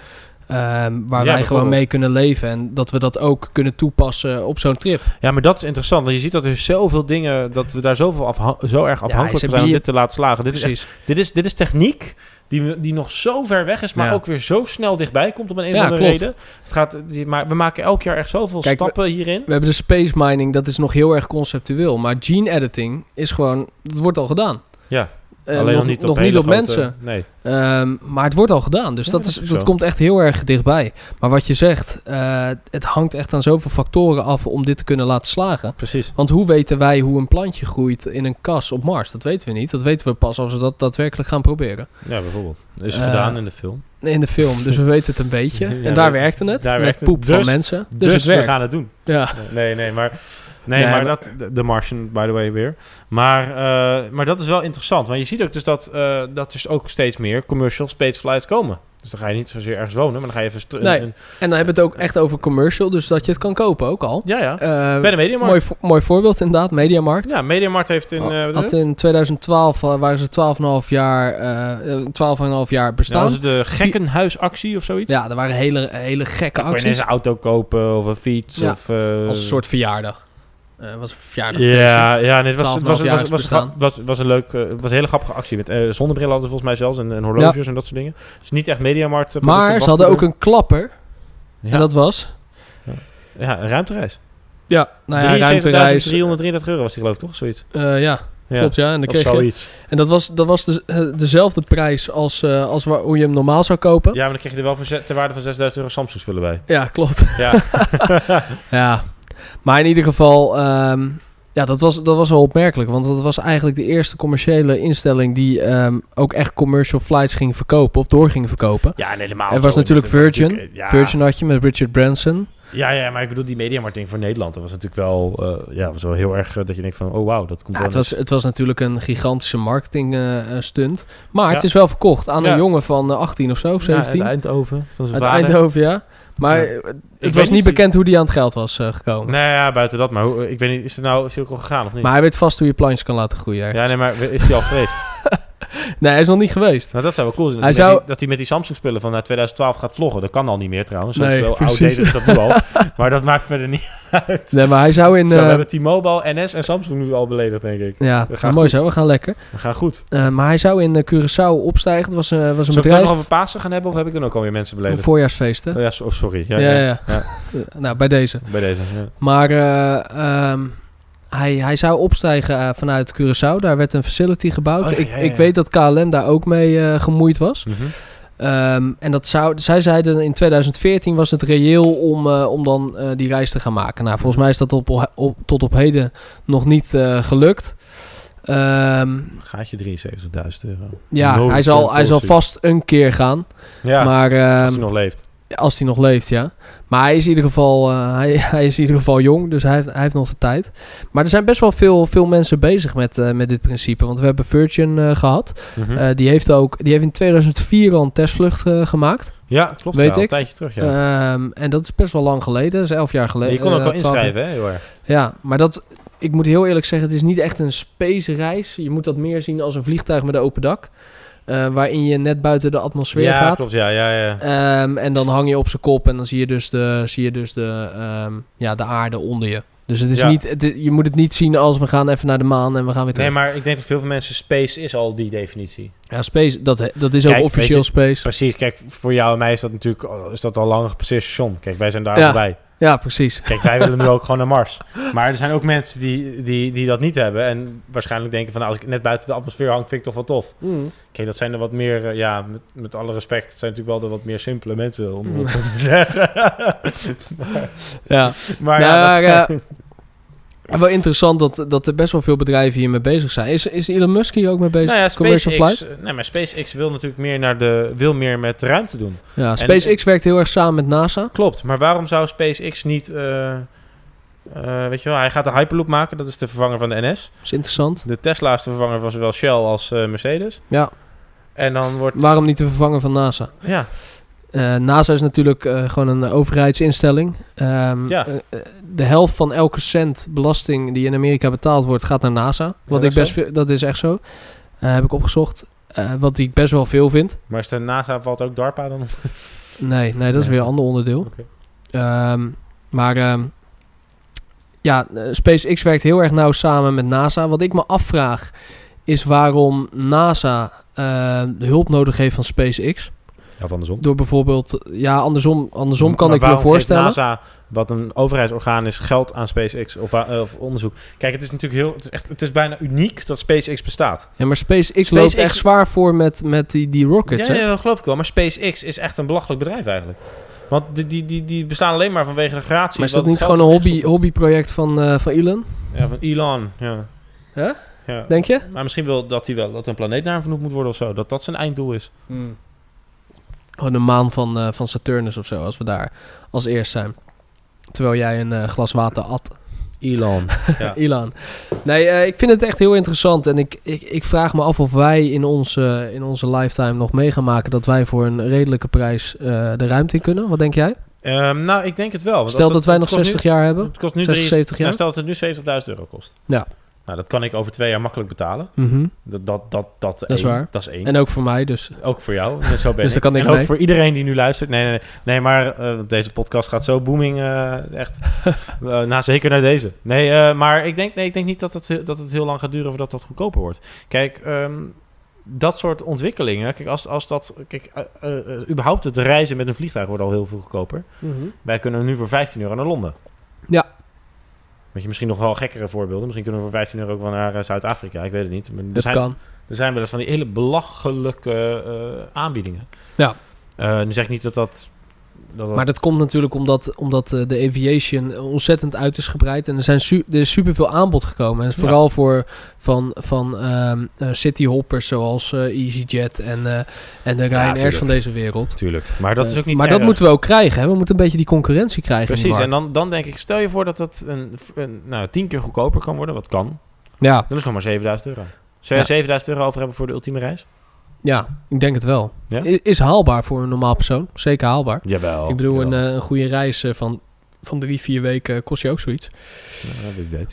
S1: Ehm, waar wij gewoon
S2: bijvoorbeeld.
S1: mee kunnen leven en dat we dat ook kunnen toepassen op zo'n trip.
S2: Ja, maar dat is interessant, want je ziet dat er zoveel dingen, dat we daar zoveel afhan- zo erg afhankelijk
S1: is een
S2: van zijn om
S1: bio-
S2: dit te laten slagen. Dit is echt
S1: Precies.
S2: Dit is, dit is techniek die, we- die nog zo ver weg is, maar
S1: Ja.
S2: ook weer zo snel dichtbij komt om een of
S1: Ja,
S2: andere
S1: klopt.
S2: reden. Het gaat, die- maar we maken elk jaar echt zoveel
S1: Kijk, we-
S2: stappen hierin.
S1: We hebben de space mining, dat is nog heel erg conceptueel. Maar gene editing is gewoon, dat wordt al gedaan.
S2: Ja,
S1: Eh,
S2: Alleen
S1: nog,
S2: nog niet op,
S1: nog
S2: hele
S1: niet op
S2: grote-
S1: mensen.
S2: Nee.
S1: Ehm, maar het wordt al gedaan, dus
S2: Ja,
S1: dat,
S2: dat
S1: is,
S2: is
S1: dat
S2: zo.
S1: komt echt heel erg dichtbij. Maar wat je zegt, eh, het hangt echt aan zoveel factoren af om dit te kunnen laten slagen.
S2: Precies.
S1: Want hoe weten wij hoe een plantje groeit in een kas op Mars? Dat weten we niet. Dat weten we pas als we dat daadwerkelijk gaan proberen.
S2: Ja, bijvoorbeeld. Is
S1: Eh,
S2: gedaan in de film.
S1: In de film, dus we weten het een beetje.
S2: Ja,
S1: en daar
S2: we-
S1: werkte het.
S2: daar
S1: met
S2: werkte het.
S1: poep van
S2: Dus-
S1: mensen. Dus,
S2: Dus,
S1: het
S2: we
S1: werkt.
S2: gaan het doen.
S1: Ja.
S2: Nee, nee, maar... Nee,
S1: Nee,
S2: maar
S1: maar-
S2: dat... de- De Martian, by the way, weer. Maar, eh, maar dat is wel interessant. Want je ziet ook dus dat, eh, dat er ook steeds meer commercial spaceflights komen. Dus dan ga je niet zozeer ergens wonen, maar dan ga je even... st- een-
S1: Nee.
S2: een-
S1: En dan hebben we het ook echt over commercial, dus dat je het kan kopen ook al.
S2: ja, ja.
S1: Eh,
S2: Bij de Mediamarkt.
S1: mooi, vo- mooi voorbeeld inderdaad, Mediamarkt.
S2: Ja, Mediamarkt heeft in... eh, wat is
S1: had
S2: het?
S1: in 2012 wa- waren ze 12,5 jaar, eh, 12,5 jaar
S2: Nou,
S1: bestaan.
S2: was het de gekkenhuisactie of zoiets?
S1: Ja, er waren hele, hele gekke
S2: Dan kon je
S1: acties.
S2: ineens een auto kopen of een fiets
S1: Ja,
S2: of... eh,
S1: Als een soort verjaardag. Eh was een verjaardag.
S2: Ja, ja nee, het was, het was,
S1: 12,5
S2: het was, het was,
S1: jaar
S2: het was, het was een leuk, eh, het was een hele grappige actie. Met eh zonnebrillen hadden ze volgens mij zelfs en, en horloges en dat soort dingen. Dus niet echt mediamarkt. eh, producten,
S1: Maar ze hadden ook
S2: wasproducten.
S1: een klapper.
S2: Ja,
S1: En dat was...
S2: ja, een ruimtereis.
S1: Ja, nou ja, ruimtereis.
S2: 333 euro was die geloof ik toch? Zoiets.
S1: eh, ja,
S2: Ja,
S1: klopt ja. En, dan
S2: Of
S1: kreeg je,
S2: zoiets.
S1: en dat was, dat was de, eh, dezelfde prijs als, eh, als waar, hoe je hem normaal zou kopen. Ja,
S2: Ja, maar dan kreeg je er wel voor zes- ter waarde van 6000 euro Samsung spullen bij.
S1: klopt.
S2: Ja,
S1: Ja. Maar in ieder geval... ehm, ja, dat was, dat was wel opmerkelijk. Want dat was eigenlijk de eerste commerciële instelling... die ehm, ook echt commercial flights ging verkopen. Of door ging verkopen.
S2: ja en helemaal.
S1: Er
S2: Nou, zo.
S1: was natuurlijk
S2: Dat is
S1: Virgin.
S2: natuurlijk, eh, ja.
S1: Virgin had je met Richard Branson.
S2: Ja, ja, maar ik bedoel die mediamarkt ding voor Nederland. Dat was natuurlijk wel, eh, ja, was wel heel erg eh, dat je denkt van, oh wauw, dat komt
S1: Ja,
S2: wel
S1: Nou, het, was,
S2: eens-
S1: het was natuurlijk een gigantische marketing eh, eh, stunt. Maar het
S2: Ja.
S1: is wel verkocht aan
S2: Ja.
S1: een jongen van eh, 18 of zo, of 17.
S2: Ja, uit Eindhoven van zijn
S1: uit
S2: vader.
S1: Eindhoven, ja. Maar
S2: Ja.
S1: eh,
S2: weet
S1: het was niet
S2: niet-
S1: bekend hoe die aan het geld was eh, gekomen.
S2: Nee, ja, buiten dat. Maar hoe, ik weet niet, is er nou cirkel gegaan of niet?
S1: Maar hij weet vast hoe je plantjes kan laten groeien. ergens.
S2: ja, nee, maar is die al geweest?
S1: Nee, hij is nog niet geweest.
S2: Nou, dat zou wel cool zijn. Dat
S1: Hij
S2: hij, met
S1: zou-
S2: die- dat hij met die Samsung-spullen van eh, 2012 gaat vloggen. Dat kan al niet meer trouwens. Dat is
S1: Nee,
S2: wel
S1: precies.
S2: outdated is dat nu al. Maar dat maakt verder niet uit.
S1: Nee, maar hij zou in...
S2: Zo, we
S1: eh,
S2: hebben T-Mobile, NS en Samsung nu al beledigd, denk ik.
S1: ja,
S2: We gaan
S1: nou, mooi
S2: goed.
S1: zo, we gaan lekker.
S2: We gaan goed.
S1: Eh, maar hij zou in eh, Curaçao opstijgen. Het was, eh, was een
S2: Zullen we het ook nog
S1: bedrijf.
S2: over Pasen gaan hebben? Of heb ik dan ook alweer mensen beledigd?
S1: Voorjaarsfeesten.
S2: Oh, ja, so- oh, sorry. Ja,
S1: Ja, ja.
S2: ja,
S1: Eh, nou, bij deze.
S2: Bij deze. ja.
S1: Maar eh, ehm, hij, hij zou opstijgen eh, vanuit Curaçao. Daar werd een facility gebouwd.
S2: Oh, ja,
S1: ik,
S2: ja,
S1: ik
S2: ja.
S1: weet dat KLM daar ook mee eh, gemoeid was.
S2: Mhm.
S1: Ehm, en dat zou, zij zeiden in 2014 was het reëel om, eh, om dan eh, die reis te gaan maken. Nou, volgens mij is dat op, op- tot op heden nog niet eh, gelukt. Ehm,
S2: Gaatje 73.000 euro.
S1: ja,
S2: No
S1: hij, zal, hij zal
S2: compulsory.
S1: vast een keer gaan.
S2: Ja,
S1: maar ehm,
S2: als hij nog leeft.
S1: als hij nog leeft, ja. Maar hij is in ieder geval, eh, hij, hij is in ieder geval jong, dus hij heeft, hij heeft nog de tijd. Maar er zijn best wel veel, veel mensen bezig met, eh, met dit principe. Want we hebben Virgin eh, gehad.
S2: Mhm.
S1: Eh, die, heeft ook, die heeft in 2004 al een testvlucht eh, gemaakt.
S2: ja, klopt.
S1: weet
S2: ja, al
S1: ik.
S2: Een tijdje terug, ja.
S1: Ehm, en dat is best wel lang geleden, dat is elf jaar geleden.
S2: je kon ook
S1: eh,
S2: wel
S1: 12
S2: inschrijven, hè? Heel erg.
S1: Ja, maar dat, ik moet heel eerlijk zeggen, het is niet echt een space reis. Je moet dat meer zien als een vliegtuig met een open dak. eh, waarin je net buiten de atmosfeer
S2: Ja,
S1: gaat.
S2: klopt. Ja, ja, ja.
S1: Ehm, en dan hang je op zijn kop en dan zie je dus de, zie je dus de, ehm, ja, de aarde onder je. Dus het is
S2: Ja.
S1: niet, het is- je moet het niet zien als we gaan even naar de maan en we gaan weer terug.
S2: Nee, maar ik denk dat veel mensen... Space is al die definitie.
S1: Ja, space, dat, dat is ook
S2: Kijk,
S1: officieel
S2: weet
S1: space.
S2: Precies, kijk, voor jou en mij is dat natuurlijk oh, is dat al lang een gepasseerd station. Kijk, wij zijn daar
S1: Ja.
S2: al bij.
S1: Ja, precies.
S2: Kijk, wij willen nu ook gewoon naar Mars. Maar er zijn ook mensen die, die, die dat niet hebben. En waarschijnlijk denken van, nou, als ik net buiten de atmosfeer hang, vind ik toch wel tof. Kijk, dat zijn er wat meer, eh, ja, met, met alle respect, het zijn natuurlijk wel de wat meer simpele mensen, om het zo te zeggen. maar
S1: Ja.
S2: maar
S1: Nou,
S2: ja, dat-
S1: ja, en wel interessant dat, dat er best wel veel bedrijven hiermee bezig zijn. Is, is Elon Musk hier ook mee bezig?
S2: nou ja,
S1: Commercial
S2: SpaceX,
S1: flight?
S2: nee, maar SpaceX wil natuurlijk meer, naar de, wil meer met ruimte doen.
S1: Ja, SpaceX werkt heel erg samen met NASA.
S2: Klopt, maar waarom zou SpaceX niet... eh, eh, weet je wel, hij gaat de Hyperloop maken, dat is de vervanger van de NS.
S1: Dat is interessant.
S2: De Tesla is de vervanger van zowel Shell als eh, Mercedes.
S1: Ja.
S2: En dan wordt...
S1: Waarom niet te vervangen van NASA?
S2: Ja,
S1: Eh, NASA is natuurlijk eh, gewoon een overheidsinstelling. Ehm,
S2: Ja.
S1: eh, eh, de helft van elke cent belasting die in Amerika betaald wordt, gaat naar NASA. Wat
S2: dat
S1: ik best
S2: zo?
S1: veel- dat is echt zo. Eh, heb ik opgestocht. Eh, wat ik best wel veel vind.
S2: maar is de NASA valt ook DARPA dan?
S1: Nee, nee dat is
S2: Ja.
S1: weer een ander onderdeel.
S2: Oké.
S1: Ehm, maar ehm, ja, eh, SpaceX werkt heel erg nauw samen met NASA. Wat ik me afvraag is waarom NASA eh, de hulp nodig heeft van SpaceX.
S2: Of andersom.
S1: Door bijvoorbeeld, ja, andersom, andersom kan
S2: Maar
S1: ik me
S2: waarom
S1: voorstellen.
S2: geeft NASA, wat een overheidsorgaan is, geld aan SpaceX of, wa- eh, of onderzoek? Kijk, het is natuurlijk heel... Het is, echt, het is bijna uniek dat SpaceX bestaat.
S1: Ja, maar SpaceX, loopt echt
S2: SpaceX
S1: zwaar voor met, met die, die rockets,
S2: ja,
S1: hè?
S2: ja, dat geloof ik wel. Maar SpaceX is echt een belachelijk bedrijf eigenlijk. Want die, die, die, die bestaan alleen maar vanwege de gratie.
S1: Maar is
S2: wat
S1: dat niet
S2: geld
S1: gewoon een
S2: dat
S1: hobby,
S2: wegstopt.
S1: hobbyproject van, eh, van Elon,
S2: Ja, van Elon, ja.
S1: Hè?
S2: Ja.
S1: denk je?
S2: Maar misschien wil dat hij wel dat een planeet naar hem vernoemd moet worden of zo. Dat dat zijn einddoel is.
S1: Gewoon de maan van, eh, van Saturnus of zo, als we daar als eerst zijn. Terwijl jij een eh, glas water at,
S2: Elon. Ja.
S1: Elon. Nee, eh, ik vind het echt heel interessant. En ik, ik, ik vraag me af of wij in onze, in onze lifetime nog mee gaan maken... dat wij voor een redelijke prijs eh, de ruimte in kunnen. Wat denk jij?
S2: Ehm, nou, ik denk het wel. want
S1: Stel dat,
S2: als
S1: wij
S2: het
S1: nog
S2: kost nu-
S1: 60 jaar hebben.
S2: Het kost nu
S1: 76
S2: drie-
S1: jaar?
S2: Nou, stel dat het nu 70.000 euro kost.
S1: Ja.
S2: Nou, dat kan ik over twee jaar makkelijk betalen.
S1: Mhm.
S2: Dat, dat, dat, dat,
S1: is
S2: één.
S1: waar.
S2: Dat is één.
S1: En ook voor mij, dus...
S2: ook voor jou. En Zo ben
S1: Dus
S2: ik.
S1: daar kan ik
S2: en ook
S1: mee.
S2: voor iedereen die nu luistert. Nee, nee, nee. nee maar eh, want deze podcast gaat zo booming. eh, echt. Eh, nou, zeker naar deze. Nee, eh, maar ik denk, nee, ik denk niet dat het, dat het heel lang gaat duren voordat dat goedkoper wordt. Kijk, ehm, dat soort ontwikkelingen. Kijk, als, als dat. Kijk, eh, eh, eh, überhaupt het reizen met een vliegtuig wordt al heel veel goedkoper.
S1: Mhm.
S2: Wij kunnen nu voor 15 euro naar Londen.
S1: Ja.
S2: Weet je, misschien nog wel gekkere voorbeelden. Misschien kunnen we voor 15 euro ook wel naar eh, Zuid-Afrika. Ik weet het niet. Maar er
S1: Dat
S2: zijn-
S1: kan.
S2: er zijn wel eens van die hele belachelijke eh, aanbiedingen.
S1: Ja.
S2: Eh, nu zeg ik niet dat dat... dat dat-
S1: Maar dat komt natuurlijk omdat, omdat eh, de aviation ontzettend uit is gebreid. En er, zijn su- er is superveel aanbod gekomen. En vooral voor van, van ehm, eh, cityhoppers zoals eh, EasyJet en, eh, en de Ryanair's
S2: tuurlijk.
S1: van deze wereld.
S2: Tuurlijk. Maar dat
S1: Eh,
S2: is ook niet
S1: maar
S2: erg.
S1: dat moeten we ook krijgen. Hè? We moeten een beetje die concurrentie krijgen. in
S2: Precies.
S1: de
S2: En
S1: markt.
S2: dan, dan denk ik, stel je voor dat dat een, een, nou, tien keer goedkoper kan worden. Wat kan.
S1: Ja,
S2: Dan is het nog maar 7000 euro. Zou je
S1: Ja.
S2: 7000 euro over hebben voor de ultieme reis?
S1: ja, ik denk het wel.
S2: Ja? Oh,
S1: I- Is haalbaar voor een normaal persoon. Zeker haalbaar.
S2: Jawel.
S1: ik bedoel, een, eh, een goede reis eh, van, van drie, vier weken kost je ook zoiets.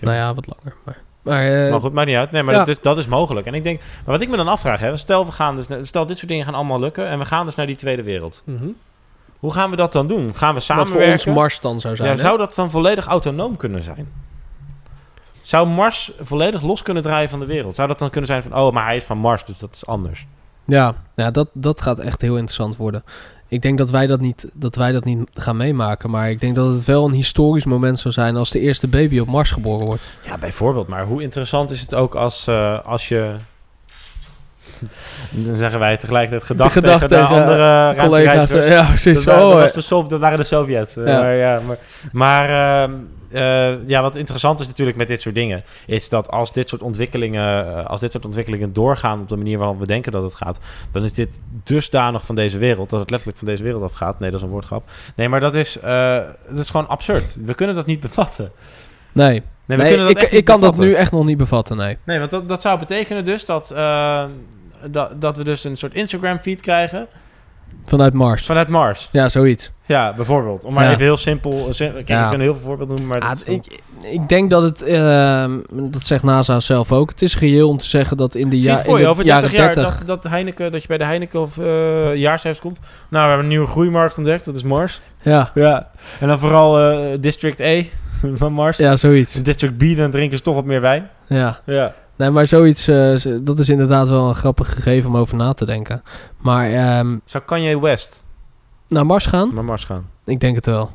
S1: Nou ja, wat langer. Maar. Maar, eh,
S2: maar goed, maakt niet uit. Nee, maar
S1: ja.
S2: dat, is, dat is mogelijk. En ik denk, maar wat ik me dan afvraag, hè, stel, we gaan dus, stel dit soort dingen gaan allemaal lukken en we gaan dus naar die tweede wereld.
S1: mhm.
S2: Hoe gaan we dat dan doen? Gaan we
S1: Wat voor
S2: samenwerken?
S1: ons Mars dan zou zijn.
S2: ja,
S1: hè?
S2: zou dat dan volledig autonoom kunnen zijn? Zou Mars volledig los kunnen draaien van de wereld? Zou dat dan kunnen zijn van, oh, maar hij is van Mars, dus dat is anders?
S1: Ja, ja dat, dat gaat echt heel interessant worden. Ik denk dat wij dat, niet, dat wij dat niet gaan meemaken. Maar ik denk dat het wel een historisch moment zou zijn als de eerste baby op Mars geboren wordt.
S2: Ja, bijvoorbeeld. Maar hoe interessant is het ook als, eh, als je... Dan zeggen wij tegelijkertijd gedacht,
S1: De gedachte
S2: tegen de
S1: tegen
S2: andere
S1: Collega's,
S2: ruimtereizigers.
S1: eh, ja precies.
S2: Dat, wa- dat
S1: oh,
S2: was
S1: eh,
S2: de Sov- dat waren de Sovjets. eh,
S1: Ja.
S2: Maar, ja, maar, maar ehm, eh, ja, wat interessant is natuurlijk met dit soort dingen... is dat als dit soort ontwikkelingen, eh, als dit soort ontwikkelingen doorgaan... op de manier waarop we denken dat het gaat... dan is dit dusdanig van deze wereld... dat het letterlijk van deze wereld afgaat. Nee, dat is een woordgrap. Nee, maar dat is, eh, dat is gewoon absurd. We kunnen dat niet bevatten.
S1: nee,
S2: Nee, we
S1: nee
S2: kunnen dat
S1: ik,
S2: echt
S1: ik
S2: niet
S1: kan dat
S2: bevatten.
S1: nu echt nog niet bevatten, nee.
S2: Nee, want dat, dat zou betekenen dus dat... eh, dat, dat we dus een soort Instagram-feed krijgen
S1: Vanuit Mars.
S2: vanuit Mars.
S1: Ja, zoiets.
S2: Ja, bijvoorbeeld. Om maar
S1: Ja.
S2: even heel simpel... eh, sim- Kijk,
S1: Ja.
S2: ik kan heel veel voorbeelden noemen, maar...
S1: Ah,
S2: dat is
S1: het-
S2: dan-
S1: ik, ik denk dat het, ehm, dat zegt NASA zelf ook, het is reëel om te zeggen dat in de,
S2: Zie
S1: ja,
S2: je het
S1: in
S2: voor je
S1: de
S2: over 30
S1: jaren
S2: jaar
S1: 30...
S2: dat, dat, Heineken, dat je bij de Heineken of eh jaarcijfers komt. Nou, we hebben een nieuwe groeimarkt ontdekt, dat is Mars.
S1: Ja,
S2: Ja. En dan vooral eh, District E van Mars.
S1: ja, zoiets.
S2: District B, dan drinken ze toch wat meer wijn.
S1: Ja.
S2: Ja.
S1: Nee, maar zoiets, eh, z- dat is inderdaad wel een grappig gegeven om over na te denken. Maar ehm,
S2: Zou Kanye West
S1: naar Mars gaan?
S2: naar Mars gaan?
S1: Ik denk het wel.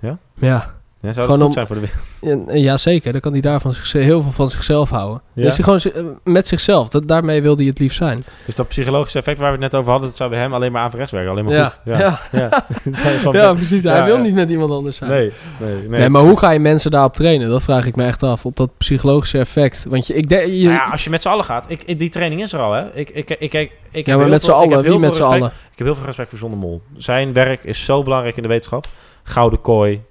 S2: Ja?
S1: Ja.
S2: Ja, zou het
S1: Gewoon
S2: goed
S1: om-
S2: zijn voor de wereld?
S1: En, eh, Ja, zeker. Dan kan hij daar van zichze- heel veel van zichzelf houden.
S2: Ja?
S1: Dus hij gewoon zi- eh, met zichzelf. Dat, daarmee wil hij het liefst zijn.
S2: Dus dat psychologische effect waar we het net over hadden, dat zou bij hem alleen maar averechts werken. Alleen maar
S1: ja.
S2: goed.
S1: Ja.
S2: Ja.
S1: Ja.
S2: Ja. Dat zou je gewoon-
S1: precies.
S2: Ja,
S1: hij wil
S2: ja.
S1: niet met iemand anders zijn.
S2: Nee, nee, nee.
S1: Nee, maar hoe ga je mensen daarop trainen? Dat vraag ik me echt af. Op dat psychologische effect. Want je, ik denk... je-
S2: Nou ja, als je met z'n allen gaat. Ik, ik- die training is er al, hè? Ik, ik, ik, ik, ik, ik
S1: ja,
S2: heb
S1: maar
S2: heel
S1: met z'n
S2: veel- ik heb
S1: allen.
S2: heel
S1: Wie met
S2: veel
S1: z'n
S2: respect
S1: allen?
S2: Ik heb heel veel respect voor John de Mol. Zijn werk is zo belangrijk in de wetenschap. Gouden Kooi.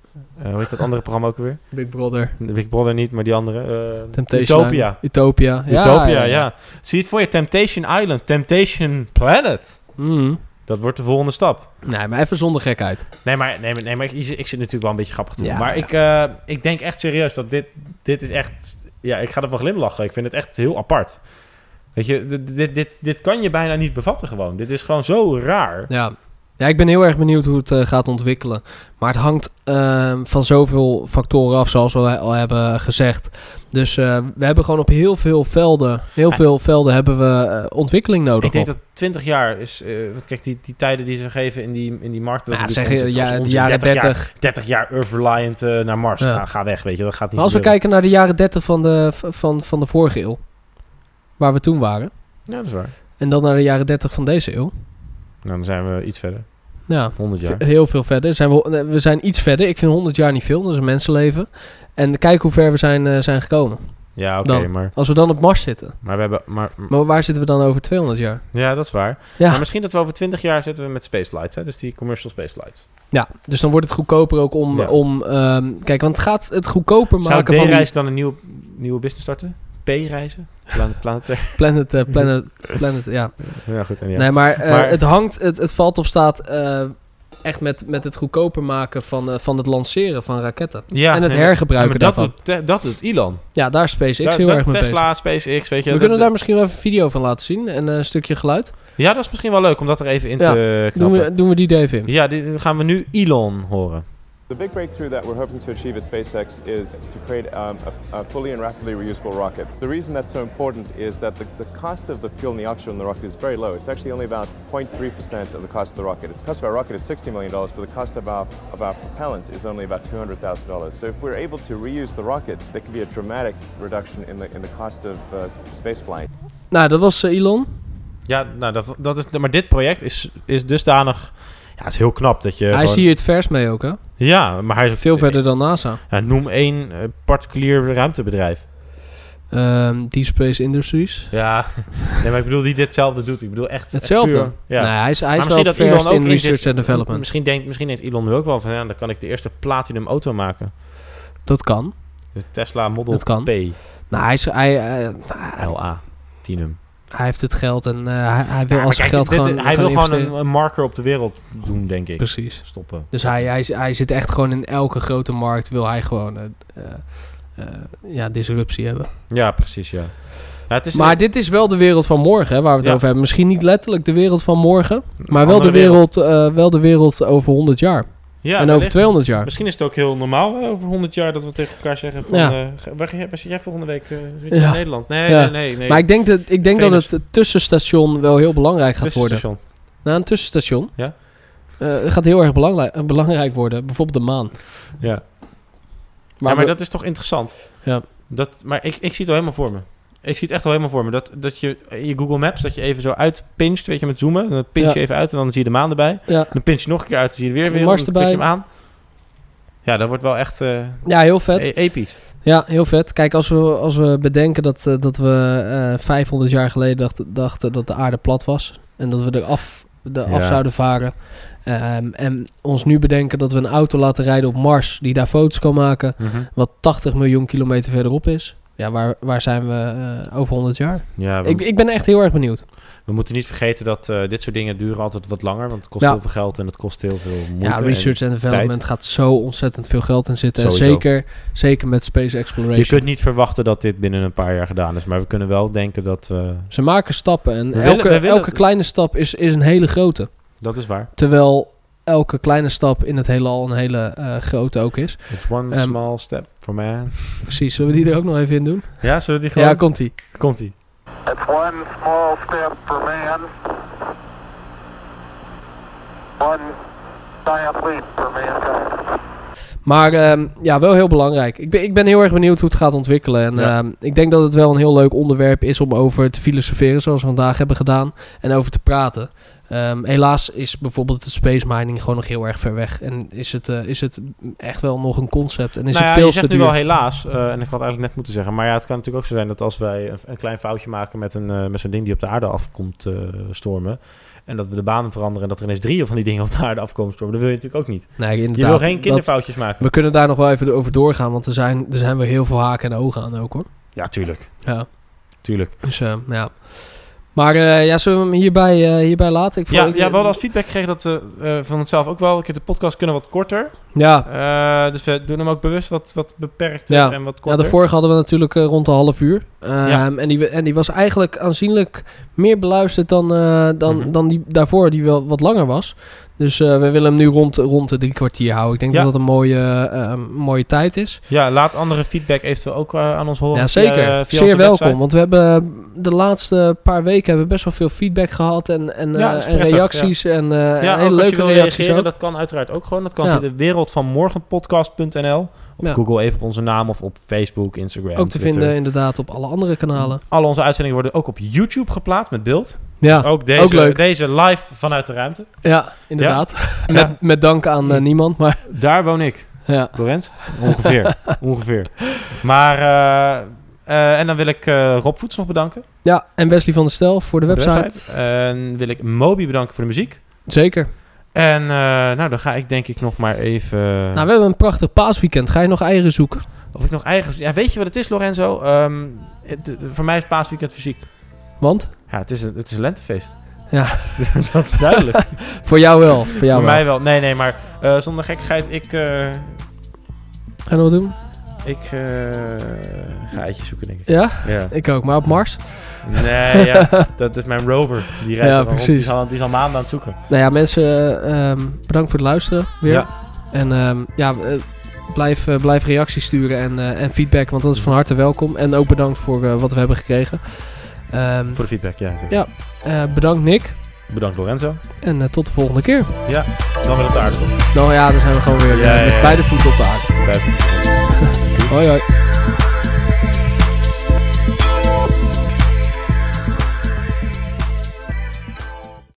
S2: eh, hoe heet dat andere programma ook weer?
S1: Big Brother.
S2: Big Brother niet, maar die andere. eh,
S1: Temptation
S2: Utopia.
S1: Island. Utopia. Ja,
S2: Utopia, ja, Zie je het voor je? Temptation Island. Temptation Planet.
S1: Mm.
S2: Dat wordt de volgende stap.
S1: Nee, maar even zonder gekheid.
S2: Nee, maar, nee, maar, nee, maar ik, ik zit natuurlijk wel een beetje grappig te doen.
S1: Ja,
S2: maar
S1: ja.
S2: Ik, eh, ik denk echt serieus dat dit, dit is echt... Ja, ik ga er wel glimlachen. Ik vind het echt heel apart. Weet je, dit, dit, dit, dit kan je bijna niet bevatten gewoon. Dit is gewoon zo raar.
S1: Ja. Ja, ik ben heel erg benieuwd hoe het eh, gaat ontwikkelen. Maar het hangt eh, van zoveel factoren af, zoals we al hebben gezegd. Dus eh, we hebben gewoon op heel veel velden, heel
S2: Ja.
S1: veel velden hebben we eh, ontwikkeling nodig.
S2: Ik denk
S1: nog.
S2: dat 20 jaar is. eh, want kijk, die, die tijden die ze geven in die, in die markt. Dat
S1: ja,
S2: is
S1: zeg
S2: natuurlijk
S1: je,
S2: onzin,
S1: ja,
S2: zoals
S1: de
S2: onzin.
S1: jaren 30.
S2: 30 jaar, 30 jaar Earth-reliant eh, naar Mars.
S1: Ja.
S2: Ga, ga weg, weet je. Dat gaat niet.
S1: Maar als we
S2: gebeuren.
S1: kijken naar de jaren 30 van de, van, van de vorige eeuw, waar we toen waren,
S2: Ja, dat is waar.
S1: en dan naar de jaren 30 van deze eeuw.
S2: Nou, dan zijn we iets verder.
S1: Ja,
S2: 100 jaar.
S1: v- heel veel verder. Zijn we, we zijn iets verder. Ik vind 100 jaar niet veel, dat is een mensenleven. En kijk hoe ver we zijn, eh, zijn gekomen.
S2: Ja, oké,
S1: Dan.
S2: maar,
S1: Als we dan op Mars zitten.
S2: maar we hebben. Maar, m-
S1: Maar waar zitten we dan over 200 jaar?
S2: ja, dat is waar.
S1: Ja.
S2: Maar misschien dat we over 20 jaar zitten we met spaceflights. Hè? Dus die commercial spaceflights.
S1: Ja, dus dan wordt het goedkoper ook om...
S2: Ja.
S1: om ehm, kijk, want het gaat het goedkoper
S2: Zou
S1: maken van die
S2: D-reis dan een nieuwe, nieuwe business starten? P-reizen? Planet, planetair.
S1: planet, eh, planet, planet, ja.
S2: ja, goed. En ja.
S1: Nee, maar, eh,
S2: Maar-
S1: het hangt, het, het valt of staat eh, echt met, met het goedkoper maken van, eh, van het lanceren van raketten.
S2: Ja,
S1: en het
S2: nee,
S1: hergebruiken
S2: maar dat
S1: daarvan.
S2: doet, te- dat doet Elon.
S1: ja, daar is SpaceX
S2: Daar-
S1: heel
S2: dat-
S1: erg mee bezig.
S2: Tesla, SpaceX, weet je.
S1: we
S2: dat-
S1: kunnen
S2: dat-
S1: daar misschien wel even een video van laten zien en eh, een stukje geluid.
S2: Ja, dat is misschien wel leuk om dat er even in
S1: Ja,
S2: te
S1: Doen
S2: knappen.
S1: we, doen we die er even in.
S2: Ja, dit gaan we nu Elon horen.
S4: The big breakthrough that we're hoping to achieve at SpaceX is to create um, a, a fully and rapidly reusable rocket. The reason that's so important is that the, the cost of the fuel and the oxygen in the rocket is very low. It's actually only about 0.3% of the cost of the rocket. It's- The cost of our rocket is $60 million, but the cost of our, of our propellant is only about $200,000. So if we're able to reuse the rocket, there could be a dramatic reduction in the, in the cost of uh, space flying.
S1: Nou, dat was eh, Elon.
S2: Ja, nou, dat, dat is, maar dit project is, is dusdanig... Ja, het is heel knap dat je
S1: hij
S2: gewoon- Eh,
S1: is hier het vers mee ook, hè?
S2: Ja, maar hij is...
S1: Veel verder dan NASA.
S2: Ja, noem één eh, particulier ruimtebedrijf.
S1: Ehm, Deep Space Industries.
S2: Ja, nee, maar ik bedoel die ditzelfde doet. Ik bedoel echt...
S1: Hetzelfde.
S2: puur- ja.
S1: Nee, Nou, hij is, hij is
S2: Maar
S1: wel het
S2: misschien dat
S1: vers
S2: Elon ook
S1: in
S2: in zit-
S1: research en development.
S2: Misschien denkt, misschien denkt Elon nu ook wel van... Ja, dan kan ik de eerste platinum auto maken.
S1: Dat kan.
S2: De Tesla Model
S1: Dat kan.
S2: P.
S1: Nou, hij, is, hij, eh,
S2: LA. Tinum.
S1: hij heeft het geld en eh, hij, hij wil
S2: Ja, maar
S1: als
S2: kijk,
S1: geld
S2: dit-
S1: gewoon.
S2: Hij wil gewoon
S1: investeren.
S2: een, een marker op de wereld doen, denk ik.
S1: Precies.
S2: Stoppen.
S1: Dus hij, hij, hij zit echt gewoon in elke grote markt. Wil hij gewoon eh, eh, eh, ja, disruptie hebben.
S2: Ja, precies, ja. Ja, het is
S1: Maar dit is wel de wereld van morgen, hè, waar we het
S2: Dus, eh, Ja.
S1: over hebben. Misschien niet letterlijk de wereld van morgen,
S2: een
S1: maar wel de
S2: andere
S1: wereld, eh, wel de wereld over 100 jaar.
S2: Ja,
S1: en over
S2: wellicht.
S1: 200 jaar.
S2: Misschien is het ook heel normaal hè, over 100 jaar dat we tegen elkaar zeggen van...
S1: Ja.
S2: eh, ga- waar, ga jij- waar zit jij volgende week? eh, zit je
S1: Ja.
S2: in Nederland? Nee,
S1: Ja.
S2: nee, nee. nee.
S1: Maar ik denk dat, ik denk dat
S2: Venus.
S1: het tussenstation wel heel belangrijk gaat worden.
S2: Tussenstation.
S1: Nou, een tussenstation.
S2: Ja.
S1: Eh, het gaat heel erg belangrijk, eh, belangrijk worden. Bijvoorbeeld de maan.
S2: Ja.
S1: Maar,
S2: ja, maar
S1: we-
S2: dat is toch interessant?
S1: Ja.
S2: Dat, maar ik, ik zie het al helemaal voor me. Ik zie het echt al helemaal voor me. Dat, dat je in je Google Maps, dat je even zo uitpincht, weet je, met zoomen. En dan pinch je
S1: Ja.
S2: even uit en dan zie je de maan erbij.
S1: ja,
S2: Dan pinch je nog een keer uit, dan zie je weer
S1: De
S2: weer.
S1: Mars
S2: dan klik je
S1: erbij.
S2: hem aan. Ja, dat wordt wel echt eh,
S1: ja, heel vet.
S2: e- episch.
S1: Ja, heel vet. Kijk, als we, als we bedenken dat, eh, dat we eh, 500 jaar geleden dachten, dachten dat de aarde plat was. En dat we er af, de af
S2: Ja.
S1: zouden varen. Ehm, en ons nu bedenken dat we een auto laten rijden op Mars. Die daar foto's kan maken.
S2: Mhm.
S1: Wat 80 miljoen kilometer verderop is. Ja, waar, waar zijn we eh, over 100 jaar?
S2: Ja, we,
S1: Ik, ik ben echt heel erg benieuwd.
S2: we moeten niet vergeten dat eh, dit soort dingen duren altijd wat langer. Want het kost
S1: Ja.
S2: heel veel geld en het kost heel veel moeite.
S1: Ja,
S2: en-
S1: research en development
S2: tijd.
S1: gaat zo ontzettend veel geld in zitten. En
S2: Sowieso.
S1: zeker, zeker met space exploration.
S2: Je kunt niet verwachten dat dit binnen een paar jaar gedaan is. Maar we kunnen wel denken dat... eh, we
S1: Ze maken stappen en
S2: We
S1: elke,
S2: willen- we willen-
S1: elke kleine stap is, is een hele grote.
S2: dat is waar.
S1: Terwijl elke kleine stap in het heelal een hele eh, grote ook is.
S2: It's one
S1: Ehm,
S2: small step for man.
S1: Precies, zullen we die er ook nog even in doen?
S2: Ja, zullen we die gewoon...
S1: Ja, komt-ie.
S2: Komt-ie.
S5: It's one small step for man, one giant leap for mankind.
S1: Maar ehm, ja, wel heel belangrijk. Ik ben, ik ben heel erg benieuwd hoe het gaat ontwikkelen. En
S2: Ja.
S1: ehm, ik denk dat het wel een heel leuk onderwerp is om over te filosoferen, zoals we vandaag hebben gedaan, en over te praten. Ehm, helaas is bijvoorbeeld het space mining gewoon nog heel erg ver weg. En is het, eh, is het echt wel nog een concept? En is
S2: nou
S1: het
S2: ja,
S1: veel
S2: je
S1: te
S2: zegt
S1: duur?
S2: nu wel helaas, eh, en ik had eigenlijk net moeten zeggen, maar ja, het kan natuurlijk ook zo zijn dat als wij een, een klein foutje maken met, een, eh, met zo'n ding die op de aarde afkomt eh, stormen, en dat we de banen veranderen en dat er ineens drie van die dingen op de aarde afkomen stormen, dat wil je natuurlijk ook niet.
S1: nee, inderdaad.
S2: Je wil geen
S1: dat-
S2: kinderfoutjes maken.
S1: we kunnen daar nog wel even over doorgaan, want er zijn, er zijn wel heel veel haken en ogen aan ook hoor.
S2: Ja, tuurlijk.
S1: Ja,
S2: Tuurlijk.
S1: dus eh, ja. Maar eh, ja, zullen we hem hierbij, eh, hierbij laten? Ik
S2: Ja,
S1: vond-
S2: ja,
S1: ik-
S2: we hadden als feedback gekregen dat eh, eh, van onszelf ook wel, ik heb de podcast kunnen wat korter,
S1: Ja,
S2: Eh, dus we doen hem ook bewust wat, wat beperkter
S1: Ja.
S2: en wat korter.
S1: Ja, de vorige hadden we natuurlijk eh, rond de half uur. Ehm,
S2: Ja.
S1: en, die, we- en die was eigenlijk aanzienlijk meer beluisterd dan, eh, dan,
S2: Mhm.
S1: dan die daarvoor, die wel wat langer was. Dus eh, we willen hem nu rond, rond de drie kwartier houden. Ik denk
S2: Ja.
S1: dat dat een mooie, eh, eh, mooie tijd is.
S2: Ja, laat andere feedback eventueel ook eh, aan ons horen.
S1: Ja,
S2: via,
S1: zeker.
S2: eh, via onze
S1: Zeer welkom.
S2: website.
S1: Want we hebben eh, de laatste paar weken hebben we best wel veel feedback gehad. En, en, eh,
S2: Ja, dat is
S1: en
S2: prettig,
S1: reacties. En eh,
S2: Ja,
S1: en
S2: ook
S1: hele
S2: als je
S1: leuke
S2: wil
S1: reacties
S2: reageren,
S1: ook.
S2: dat kan uiteraard ook gewoon. Dat kan
S1: Ja.
S2: via de wereld van morgenpodcast.nl. Of
S1: Ja.
S2: Google even op onze naam of op Facebook, Instagram,
S1: Ook te
S2: Twitter.
S1: vinden inderdaad op alle andere kanalen.
S2: Alle onze uitzendingen worden ook op YouTube geplaatst met beeld.
S1: Ja,
S2: ook deze,
S1: Ah, ook leuk.
S2: deze live vanuit de ruimte.
S1: ja inderdaad. Met, met dank aan eh, niemand. Maar
S2: Daar woon ik,
S1: ja.
S2: Lorenz. Ongeveer, ongeveer. Maar, eh, eh, en dan wil ik eh, Rob Voets nog bedanken. voor
S1: ja, en Wesley van der Stel voor de
S2: de eh.
S1: website.
S2: En wil ik Moby bedanken voor de muziek.
S1: Zeker.
S2: En eh, nou, dan ga ik denk ik nog maar even...
S1: Nou, we hebben een prachtig paasweekend. Ga je nog eieren zoeken?
S2: Of ik nog eigen... Ja, weet je wat het is, Lorenzo? Ehm, het- voor mij is paasweekend verziekt.
S1: Want?
S2: Ja, het is een, het is een lentefeest.
S1: Ja.
S2: dat is duidelijk.
S1: Voor jou wel. Voor jou
S2: voor
S1: wel.
S2: mij wel. Nee, nee, maar eh, zonder gekkigheid, ik... eh,
S1: Ga je nog wat doen?
S2: ik eh, ga eitjes zoeken, denk ik.
S1: Ja,
S2: Ja.
S1: ik ook. Maar op Mars?
S2: Nee, ja, dat is mijn rover. Die rijdt
S1: Ja,
S2: er al rond. Die
S1: precies.
S2: is, al, die is al maanden aan het zoeken.
S1: Nou ja, mensen, eh, ehm, bedankt voor het luisteren weer.
S2: Ja.
S1: En ehm, ja, eh, blijf, eh, blijf reacties sturen en, eh, en feedback, want dat is van harte welkom. En ook bedankt voor eh, wat we hebben gekregen. Ehm,
S2: Voor de feedback, ja. zeker.
S1: Ja. eh, bedankt Nick
S2: Bedankt, Lorenzo.
S1: en eh, tot de volgende keer.
S2: Ja, dan weer op de aarde.
S1: Nou ja, dan zijn we gewoon weer eh,
S2: Ja, ja,
S1: met
S2: ja.
S1: beide voeten op de aarde.
S2: Blijf.
S1: Hoi hoi.